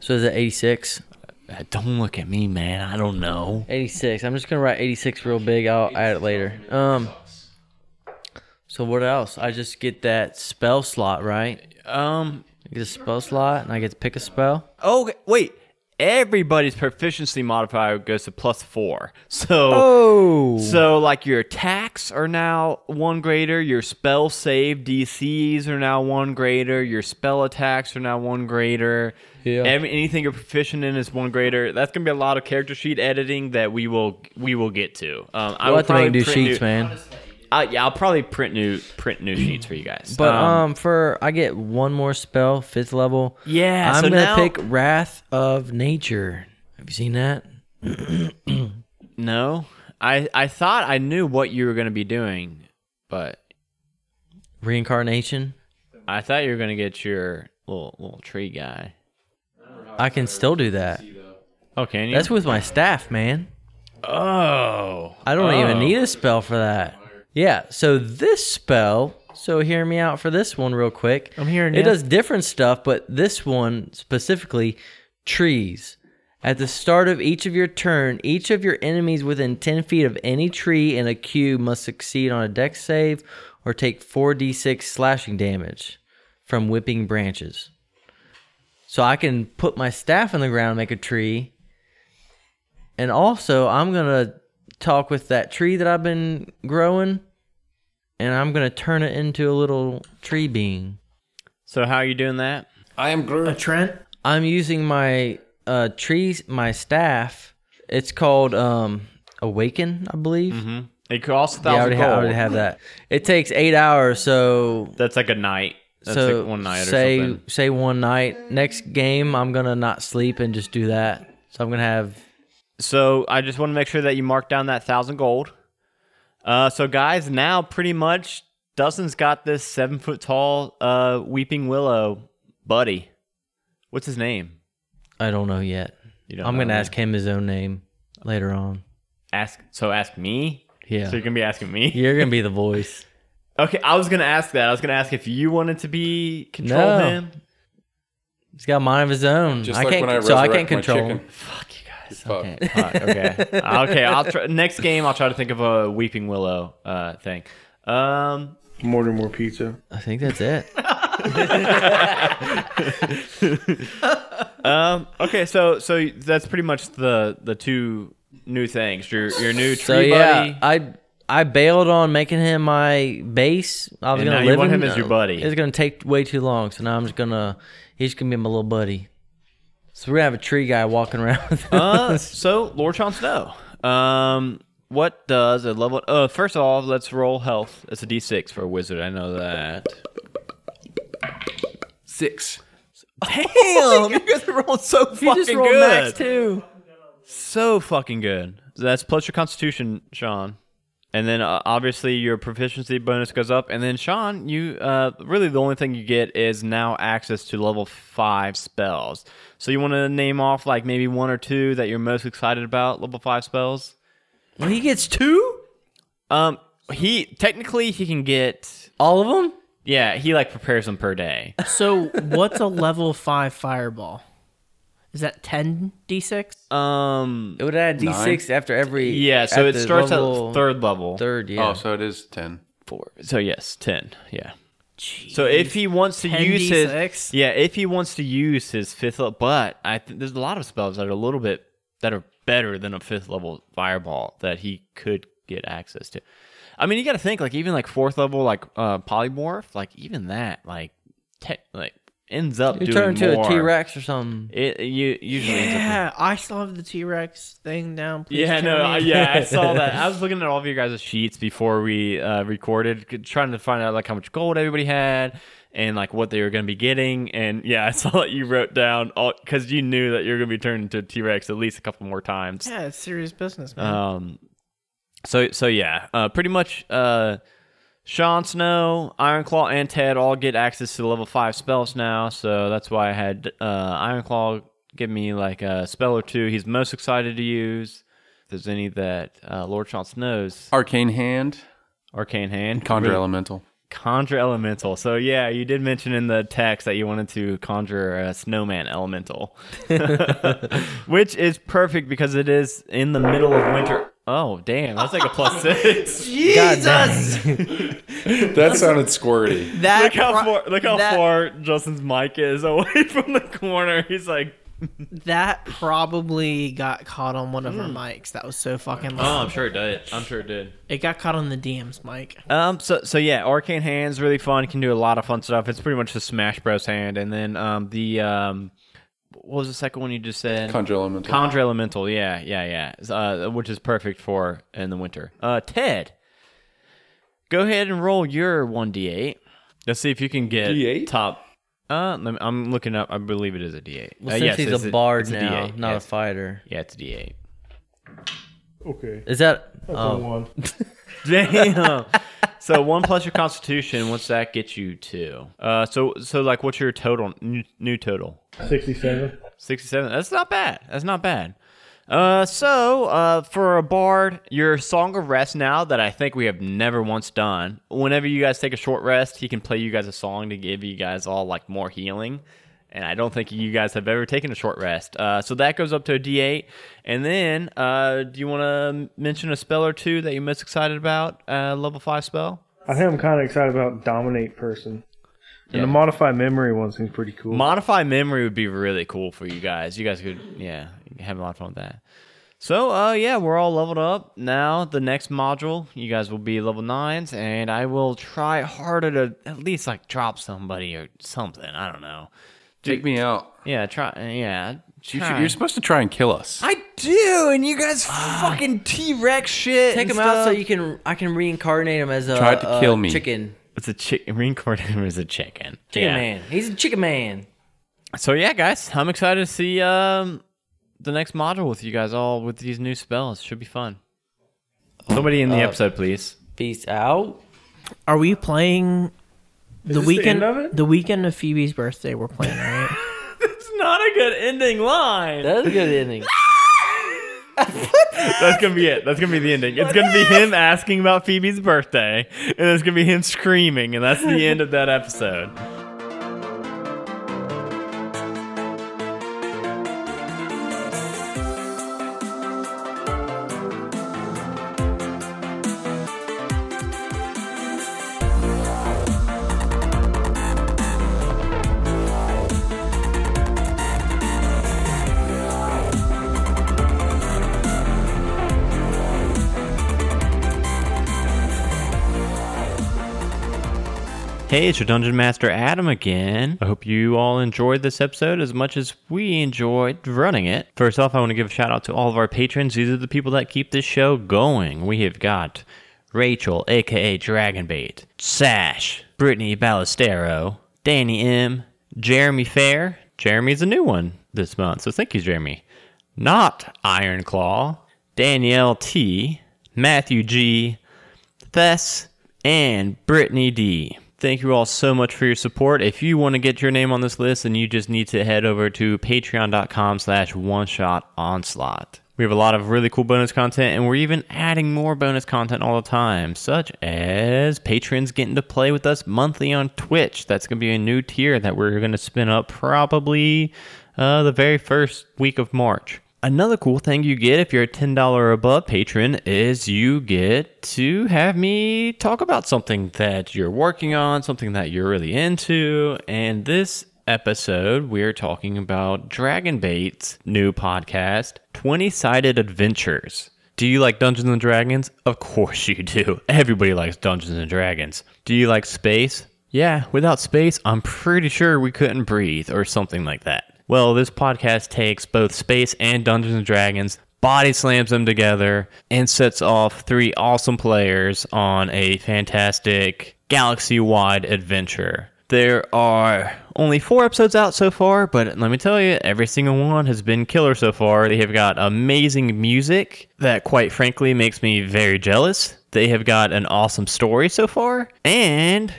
Speaker 5: so is that eighty-six?
Speaker 1: Uh, Don't look at me, man. I don't know.
Speaker 5: 86. I'm just gonna write 86 real big. I'll add it later. Um. So what else? I just get that spell slot, right?
Speaker 1: Um.
Speaker 5: I get a spell slot, and I get to pick a spell.
Speaker 1: Oh, wait. Everybody's proficiency modifier goes to plus four. So.
Speaker 5: Oh.
Speaker 1: So, like, your attacks are now one greater, your spell save DCs are now one greater, your spell attacks are now one greater.
Speaker 5: Yeah.
Speaker 1: Every, anything you're proficient in is one greater. That's gonna be a lot of character sheet editing that we will we will get to. Um, I
Speaker 5: I
Speaker 1: will
Speaker 5: have to make
Speaker 1: probably
Speaker 5: new
Speaker 1: print
Speaker 5: sheets,
Speaker 1: new,
Speaker 5: man.
Speaker 1: I, yeah, I'll probably print new print new sheets for you guys. Uh,
Speaker 5: But um, for I get one more spell, fifth level.
Speaker 1: Yeah,
Speaker 5: I'm
Speaker 1: so
Speaker 5: gonna
Speaker 1: now-
Speaker 5: pick Wrath of Nature. Have you seen that?
Speaker 1: no, I I thought I knew what you were gonna be doing, but
Speaker 5: Reincarnation.
Speaker 1: I thought you were gonna get your little little tree guy.
Speaker 5: I can still do that.
Speaker 1: Okay, and you,
Speaker 5: That's with my staff, man.
Speaker 1: oh,
Speaker 5: I don't even
Speaker 1: Oh.
Speaker 5: need a spell for that. Yeah, so this spell, so hear me out for this one real quick.
Speaker 2: I'm hearing
Speaker 5: It
Speaker 2: ya.
Speaker 5: does different stuff, but this one specifically trees. At the start of each of your turn, each of your enemies within 10 feet of any tree in a queue must succeed on a dex save or take 4d6 slashing damage from whipping branches. So I can put my staff in the ground and make a tree. And also, I'm going to talk with that tree that I've been growing and I'm going to turn it into a little tree being.
Speaker 1: So how are you doing that?
Speaker 8: I am
Speaker 2: A
Speaker 8: Groot.
Speaker 2: Trent?
Speaker 5: I'm using my uh trees my staff. It's called um Awaken, I believe.
Speaker 1: It costs a
Speaker 5: Yeah, I
Speaker 1: Mm-hmm. thousand
Speaker 5: already, ha- I already have that. It takes 8 hours, so
Speaker 1: That's like a night. That's
Speaker 5: so
Speaker 1: like one night
Speaker 5: say
Speaker 1: or something.
Speaker 5: say one night. Next game I'm going to not sleep and just do that. So I'm going to have
Speaker 1: So I just want to make sure that you mark down that thousand gold. Uh, so guys, now pretty much Dustin's got this seven foot tall uh, weeping willow buddy. What's his name?
Speaker 5: I don't know yet.
Speaker 1: You don't
Speaker 5: I'm
Speaker 1: know
Speaker 5: going to
Speaker 1: yet.
Speaker 5: ask him his own name later on.
Speaker 1: Ask. So ask me.
Speaker 5: Yeah.
Speaker 1: So you're gonna be asking me.
Speaker 5: You're going to be the voice.
Speaker 1: Okay, I was gonna ask that. I was gonna ask if you wanted to be control
Speaker 5: No.
Speaker 1: him.
Speaker 5: He's got a mind of his own.
Speaker 8: Just
Speaker 5: I
Speaker 8: like
Speaker 5: can't,
Speaker 8: when I
Speaker 5: so I can't
Speaker 8: resurrect my
Speaker 5: control
Speaker 8: chicken.
Speaker 5: him.
Speaker 1: Fuck you guys.
Speaker 8: Fuck.
Speaker 1: Fuck, okay. okay. I'll try, next game. I'll try to think of a weeping willow uh, thing. Um,
Speaker 4: More and more pizza.
Speaker 5: I think that's it.
Speaker 1: um, okay. So so that's pretty much the the two new things. Your your new tree
Speaker 5: So yeah,
Speaker 1: buddy.
Speaker 5: I I bailed on making him my base. I was
Speaker 1: And
Speaker 5: gonna
Speaker 1: now you
Speaker 5: live
Speaker 1: want
Speaker 5: in-
Speaker 1: him as your buddy.
Speaker 5: It's gonna take way too long, so now I'm just gonna he's gonna be my little buddy. So we're gonna have a tree guy walking around. With
Speaker 1: uh, so Lord Chon Snow. Um, what does a level? Uh, first of all, let's roll health. That's a d6 for a wizard. I know that.
Speaker 8: Six.
Speaker 1: Damn, you guys are rolling so fucking
Speaker 5: you just roll
Speaker 1: good.
Speaker 5: max too.
Speaker 1: so fucking good. So that's plus your constitution, Sean. And then uh, obviously your proficiency bonus goes up. And then Sean, you uh, really the only thing you get is now access to level five spells. So you want to name off like maybe one or two that you're most excited about level five spells.
Speaker 5: Well, he gets two,
Speaker 1: Um, he technically he can get
Speaker 5: all of them.
Speaker 1: yeah he like prepares them per day.
Speaker 2: So what's a level five fireball? Is that ten D six?
Speaker 1: Um,
Speaker 5: It would add D six after every.
Speaker 1: yeah. So it
Speaker 5: after
Speaker 1: starts
Speaker 5: level-
Speaker 1: at third level.
Speaker 5: Third, yeah.
Speaker 3: Oh, so it is 10.
Speaker 1: four. So yes, ten. Yeah. So if he wants to
Speaker 2: 10
Speaker 1: use
Speaker 2: D6?
Speaker 1: his yeah, if he wants to use his fifth level, but I think there's a lot of spells that are a little bit that are better than a fifth level fireball that he could get access to. I mean, you got to think like even like fourth level like uh polymorph, like even that like tech like ends up
Speaker 5: you
Speaker 1: doing
Speaker 5: turn into
Speaker 1: more.
Speaker 5: a T Rex or something.
Speaker 1: It you usually ends up doing
Speaker 2: Yeah, I still have the T Rex thing down. Please
Speaker 1: yeah, no,
Speaker 2: tell me.
Speaker 1: I, yeah, I saw that. I was looking at all of your guys' sheets before we uh, recorded, c- trying to find out like how much gold everybody had and like what they were going to be getting. And yeah, I saw that you wrote down all because you knew that you were going to be turned into a T Rex at least a couple more times.
Speaker 2: Yeah, it's serious business, man.
Speaker 1: Um, so so yeah, uh, pretty much. Uh, Sean Snow, Iron Claw, and Ted all get access to level five spells now. So that's why I had uh, Iron Claw give me like a spell or two. He's most excited to use. If there's any that uh, Lord Sean Snow's
Speaker 3: Arcane Hand.
Speaker 1: Arcane Hand.
Speaker 3: Conjure
Speaker 1: Really-
Speaker 3: Elemental.
Speaker 1: Conjure Elemental. So, yeah, you did mention in the text that you wanted to conjure a snowman elemental, which is perfect because it is in the middle of winter. Oh, damn. That's like a plus six.
Speaker 2: Jesus!
Speaker 3: That sounded squirty.
Speaker 2: That
Speaker 1: look how
Speaker 2: pro-
Speaker 1: far, look how
Speaker 2: that-
Speaker 1: far Justin's mic is away from the corner. He's like,
Speaker 2: That probably got caught on one of our mics. That was so fucking loud.
Speaker 1: sure it did. Oh, I'm sure it did.
Speaker 2: It got caught on the DMs, Mike.
Speaker 1: Um. So so yeah, arcane hands really fun. Can do a lot of fun stuff. It's pretty much the Smash Bros. hand, and then um the um what was the second one you just said?
Speaker 3: Conjure Elemental.
Speaker 1: Conjure elemental. Yeah, yeah, yeah. Uh, which is perfect for in the winter. Uh, Ted, go ahead and roll your one d8. Let's see if you can get
Speaker 3: D8?
Speaker 1: top. Uh, let me- I'm looking up. I believe it is a d8.
Speaker 5: Well,
Speaker 1: uh,
Speaker 5: since
Speaker 1: yes,
Speaker 5: he's
Speaker 1: it's
Speaker 5: a bard
Speaker 1: it's
Speaker 5: now,
Speaker 1: D8.
Speaker 5: not
Speaker 1: yes.
Speaker 5: a fighter.
Speaker 1: Yeah, it's a d8.
Speaker 4: Okay.
Speaker 5: Is that?
Speaker 4: Oh.
Speaker 5: Oh,
Speaker 4: One.
Speaker 1: Damn. so one plus your constitution. What's that get you to? Uh, so so like, what's your total new, new total?
Speaker 4: 67.
Speaker 1: Sixty-seven. That's not bad. That's not bad. Uh, so uh, for a bard, your song of rest now that I think we have never once done. Whenever you guys take a short rest, he can play you guys a song to give you guys all like more healing. And I don't think you guys have ever taken a short rest. Uh, so that goes up to a D8. And then, uh, do you want to mention a spell or two that you're most excited about? Uh, level five spell.
Speaker 4: I think I'm kind of excited about Dominate Person. And
Speaker 1: Yeah.
Speaker 4: the Modified Memory one seems pretty cool.
Speaker 1: Modify memory would be really cool for you guys. You guys could, yeah, have a lot of fun with that. So, uh, yeah, we're all leveled up. Now, the next module, you guys will be level nines, and I will try harder to at least like drop somebody or something. I don't know.
Speaker 3: Take me out.
Speaker 1: Yeah, try. Yeah,
Speaker 3: You
Speaker 1: try.
Speaker 3: are supposed to try and kill us.
Speaker 1: I do, and you guys fucking T Rex shit.
Speaker 5: Ah. take him out so you can. I can reincarnate him as a
Speaker 3: Tried to
Speaker 5: a
Speaker 3: kill me.
Speaker 5: Chicken,
Speaker 1: It's a chicken. Reincarnated is a chicken.
Speaker 5: chicken
Speaker 1: Yeah.
Speaker 5: man. He's a chicken man.
Speaker 1: so yeah guys i'm excited to see um the next module with you guys all with these new spells should be fun somebody in the episode please
Speaker 5: Peace out.
Speaker 2: Are we playing the
Speaker 4: this the
Speaker 2: weekend?
Speaker 4: end of it?
Speaker 2: the weekend of Phoebe's birthday, we're playing, right?
Speaker 1: it's not a good ending line
Speaker 5: That's a good ending.
Speaker 1: that's gonna be it that's gonna be the ending it's gonna be him asking about phoebe's birthday and it's gonna be him screaming and that's the end of that episode Hey, it's your Dungeon Master Adam again. I hope you all enjoyed this episode as much as we enjoyed running it. First off, I want to give a shout out to all of our patrons. These are the people that keep this show going. We have got Rachel, aka Dragonbait, Sash, Brittany Ballestero, Danny M, Jeremy Fair. Jeremy's a new one this month, so thank you, Jeremy. Not Iron Claw, Danielle T, Matthew G, Thess, and Brittany D. Thank you all so much for your support. If you want to get your name on this list, then you just need to head over to patreon.com slash one shot onslaught. We have a lot of really cool bonus content, and we're even adding more bonus content all the time, such as patrons getting to play with us monthly on Twitch. That's going to be a new tier that we're going to spin up probably uh, the very first week of March. Another cool thing you get if you're a $10 or above patron is you get to have me talk about something that you're working on, something that you're really into. And this episode, we're talking about Dragonbait's new podcast, 20 Sided Adventures. Do you like Dungeons and Dragons? Of course you do. Everybody likes Dungeons and Dragons. Do you like space? Yeah, without space, I'm pretty sure we couldn't breathe or something like that. Well, this podcast takes both space and Dungeons and Dragons, body slams them together, and sets off three awesome players on a fantastic galaxy wide adventure. There are only four episodes out so far, but let me tell you, every single one has been killer so far. They have got amazing music that, quite frankly, makes me very jealous. They have got an awesome story so far, and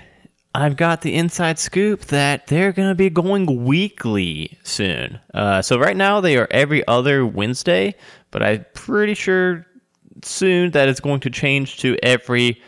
Speaker 1: I've got the inside scoop that they're going to be going weekly soon. Uh, so, right now, they are every other Wednesday, but I'm pretty sure soon that it's going to change to every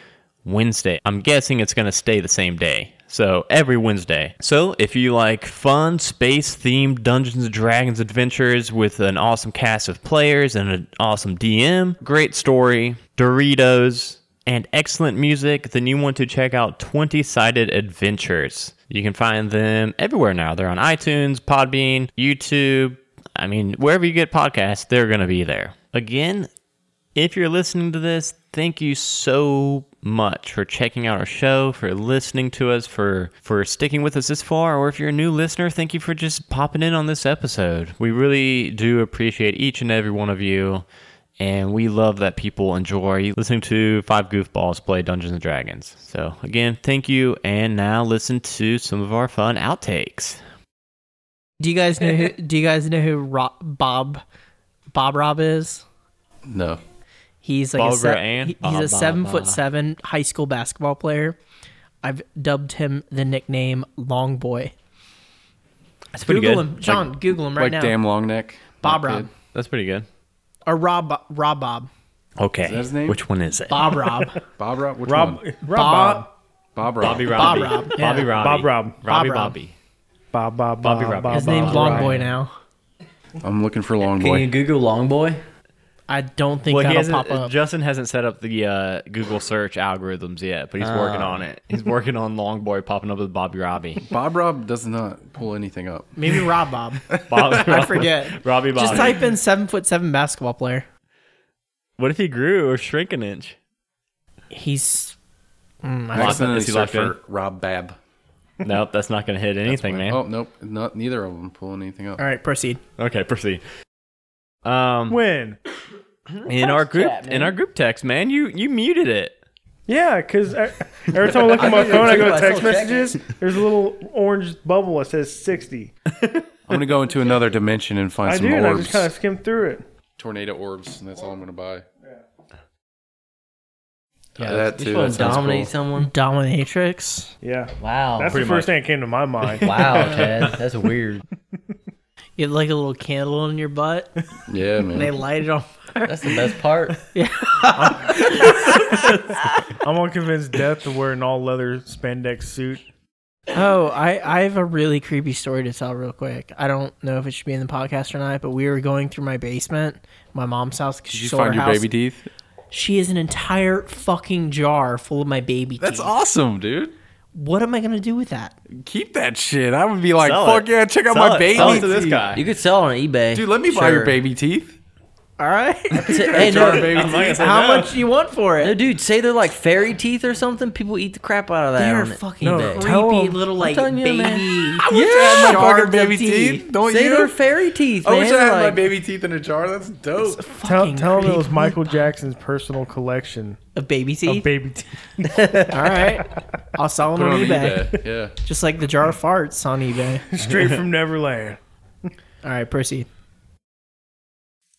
Speaker 1: Wednesday. I'm guessing it's going to stay the same day. So every Wednesday. So if you like fun space themed Dungeons and Dragons adventures with an awesome cast of players and an awesome DM, great story, Doritos, and excellent music, then you want to check out 20 Sided Adventures. You can find them everywhere now. They're on iTunes, Podbean, YouTube. I mean, wherever you get podcasts, they're going to be there. Again, if you're listening to this, thank you so much for checking out our show, for listening to us, for for sticking with us this far, or if you're a new listener, thank you for just popping in on this episode. We really do appreciate each and every one of you. And we love that people enjoy listening to five goofballs play Dungeons and Dragons. So, again, thank you. And now listen to some of our fun outtakes.
Speaker 2: Do you guys know who? Do you guys know who Rob, Bob Bob Rob is?
Speaker 3: No.
Speaker 2: He's like a
Speaker 1: Barbara
Speaker 2: se-
Speaker 1: Ann?
Speaker 2: he- he's
Speaker 1: Bah, bah,
Speaker 2: a seven
Speaker 1: bah.
Speaker 2: foot seven high school basketball player. I've dubbed him the nickname Long Boy.
Speaker 1: That's pretty
Speaker 2: Google
Speaker 1: good.
Speaker 2: him, John. Google him right
Speaker 3: like
Speaker 2: now.
Speaker 3: damn long neck.
Speaker 2: Bob
Speaker 3: That
Speaker 2: Rob
Speaker 3: kid.
Speaker 1: That's pretty good.
Speaker 2: or Rob Bo- Rob Bob
Speaker 1: Okay.
Speaker 3: that his name?
Speaker 1: Which one is it?
Speaker 2: Bob Rob
Speaker 3: Bob Rob. Which
Speaker 4: Rob,
Speaker 3: one?
Speaker 4: Rob, Bob,
Speaker 3: Bob Rob.
Speaker 1: Bobby Robbie.
Speaker 2: Bob Rob, yeah.
Speaker 1: Bobby Robbie.
Speaker 4: Bob Rob.
Speaker 1: Robbie
Speaker 2: Bob Rob.
Speaker 1: Bobby.
Speaker 4: Bob, Bob,
Speaker 1: Bobby
Speaker 4: Bob,
Speaker 1: Rob.
Speaker 4: Bob,
Speaker 2: His name's
Speaker 4: Bob,
Speaker 2: Long
Speaker 4: Bob.
Speaker 2: Boy now.
Speaker 3: I'm looking for long
Speaker 5: Can you
Speaker 3: boy.
Speaker 5: Google long boy?
Speaker 2: I don't think
Speaker 1: Well, he
Speaker 2: that'll
Speaker 1: hasn't,
Speaker 2: pop up.
Speaker 1: Justin hasn't set up the uh, Google search algorithms yet, but he's working on it. He's working on Longboy popping up with Bobby Robbie.
Speaker 3: Bob Rob does not pull anything up.
Speaker 2: Maybe Rob Bob.
Speaker 1: Bobby
Speaker 2: I
Speaker 1: Rob-
Speaker 2: forget.
Speaker 1: Robbie Bobby.
Speaker 2: Just type in seven foot seven basketball player.
Speaker 1: What if he grew or shrink an inch?
Speaker 2: He's mm, I
Speaker 3: I
Speaker 1: Lock-
Speaker 2: don't-
Speaker 3: accidentally
Speaker 1: is he
Speaker 3: searched
Speaker 1: locked
Speaker 3: for Rob Bab.
Speaker 1: Nope, that's not going to hit anything, man.
Speaker 3: Oh nope, not neither of them pull anything up.
Speaker 2: all right. Proceed.
Speaker 1: Okay, proceed. Um,
Speaker 4: When?
Speaker 1: in our group, in our group text, man, you you muted it.
Speaker 4: Yeah, because every time I look at my
Speaker 5: do
Speaker 4: phone, I
Speaker 5: too,
Speaker 4: go to
Speaker 5: I
Speaker 4: text
Speaker 5: still check it.
Speaker 4: messages. There's a little orange bubble that says 60.
Speaker 3: I'm gonna go into another dimension and find
Speaker 4: I
Speaker 3: some
Speaker 4: do, and I
Speaker 3: orbs.
Speaker 4: just kind of skim through it.
Speaker 3: Tornado orbs, and that's all I'm gonna buy.
Speaker 5: Yeah,
Speaker 3: Uh, that too.
Speaker 5: You want
Speaker 3: That
Speaker 5: to
Speaker 3: sounds
Speaker 5: dominate
Speaker 3: cool.
Speaker 5: someone?
Speaker 2: Dominatrix.
Speaker 4: Yeah.
Speaker 5: Wow.
Speaker 4: That's the first thing that came to my mind.
Speaker 5: wow, Ted. That's weird.
Speaker 2: You had like a little candle in your butt. And
Speaker 3: Yeah,
Speaker 2: they
Speaker 3: man.
Speaker 2: light it on.
Speaker 5: That's the best part.
Speaker 4: I'm gonna convince Death to wear an all leather spandex suit.
Speaker 2: Oh, I, I have a really creepy story to tell real quick. I don't know if it should be in the podcast or not, but we were going through my basement, my mom's house. 'cause
Speaker 3: Did
Speaker 2: she
Speaker 3: you
Speaker 2: sold
Speaker 3: find
Speaker 2: her
Speaker 3: your
Speaker 2: house.
Speaker 3: baby teeth?
Speaker 2: She has an entire fucking jar full of my baby
Speaker 3: That's
Speaker 2: teeth.
Speaker 3: awesome, dude.
Speaker 2: What am I gonna do with that?
Speaker 3: Keep that shit. I would be like,
Speaker 1: Sell
Speaker 3: fuck
Speaker 1: it.
Speaker 3: yeah, check out
Speaker 1: Sell
Speaker 3: my
Speaker 1: it.
Speaker 3: baby
Speaker 1: Sell it
Speaker 3: teeth.
Speaker 1: to this guy.
Speaker 5: You could sell on eBay.
Speaker 3: Dude, let me buy your
Speaker 5: Sure.
Speaker 3: baby teeth.
Speaker 2: All right.
Speaker 5: Say- hey,
Speaker 3: Jar
Speaker 5: no,
Speaker 3: baby teeth.
Speaker 2: How much do you want for
Speaker 5: no,
Speaker 2: it?
Speaker 5: dude, say they're like fairy teeth or something. People eat the crap out of that.
Speaker 2: They're
Speaker 5: on it.
Speaker 2: fucking
Speaker 4: No,
Speaker 5: eBay.
Speaker 4: tell
Speaker 2: creepy
Speaker 4: 'em.
Speaker 2: little like
Speaker 5: telling you,
Speaker 2: baby.
Speaker 5: man.
Speaker 3: I wish I had my
Speaker 2: Shards
Speaker 3: fucking
Speaker 2: of
Speaker 3: baby
Speaker 2: teeth.
Speaker 3: teeth. Don't
Speaker 5: Say they're
Speaker 3: you?
Speaker 5: fairy teeth,
Speaker 3: I
Speaker 5: man.
Speaker 3: wish I had my
Speaker 5: Like,
Speaker 3: baby teeth in a jar. That's dope.
Speaker 4: Tell,
Speaker 2: Fucking
Speaker 4: tell him it was
Speaker 2: creepy.
Speaker 4: Michael Jackson's personal collection
Speaker 2: A baby
Speaker 4: of
Speaker 2: teeth.
Speaker 4: baby teeth.
Speaker 2: All right. I'll sell them
Speaker 3: Put it
Speaker 2: on,
Speaker 3: on
Speaker 2: eBay.
Speaker 3: eBay. Yeah.
Speaker 2: Just like the jar of farts on eBay.
Speaker 4: Straight from Neverland.
Speaker 2: All right, proceed.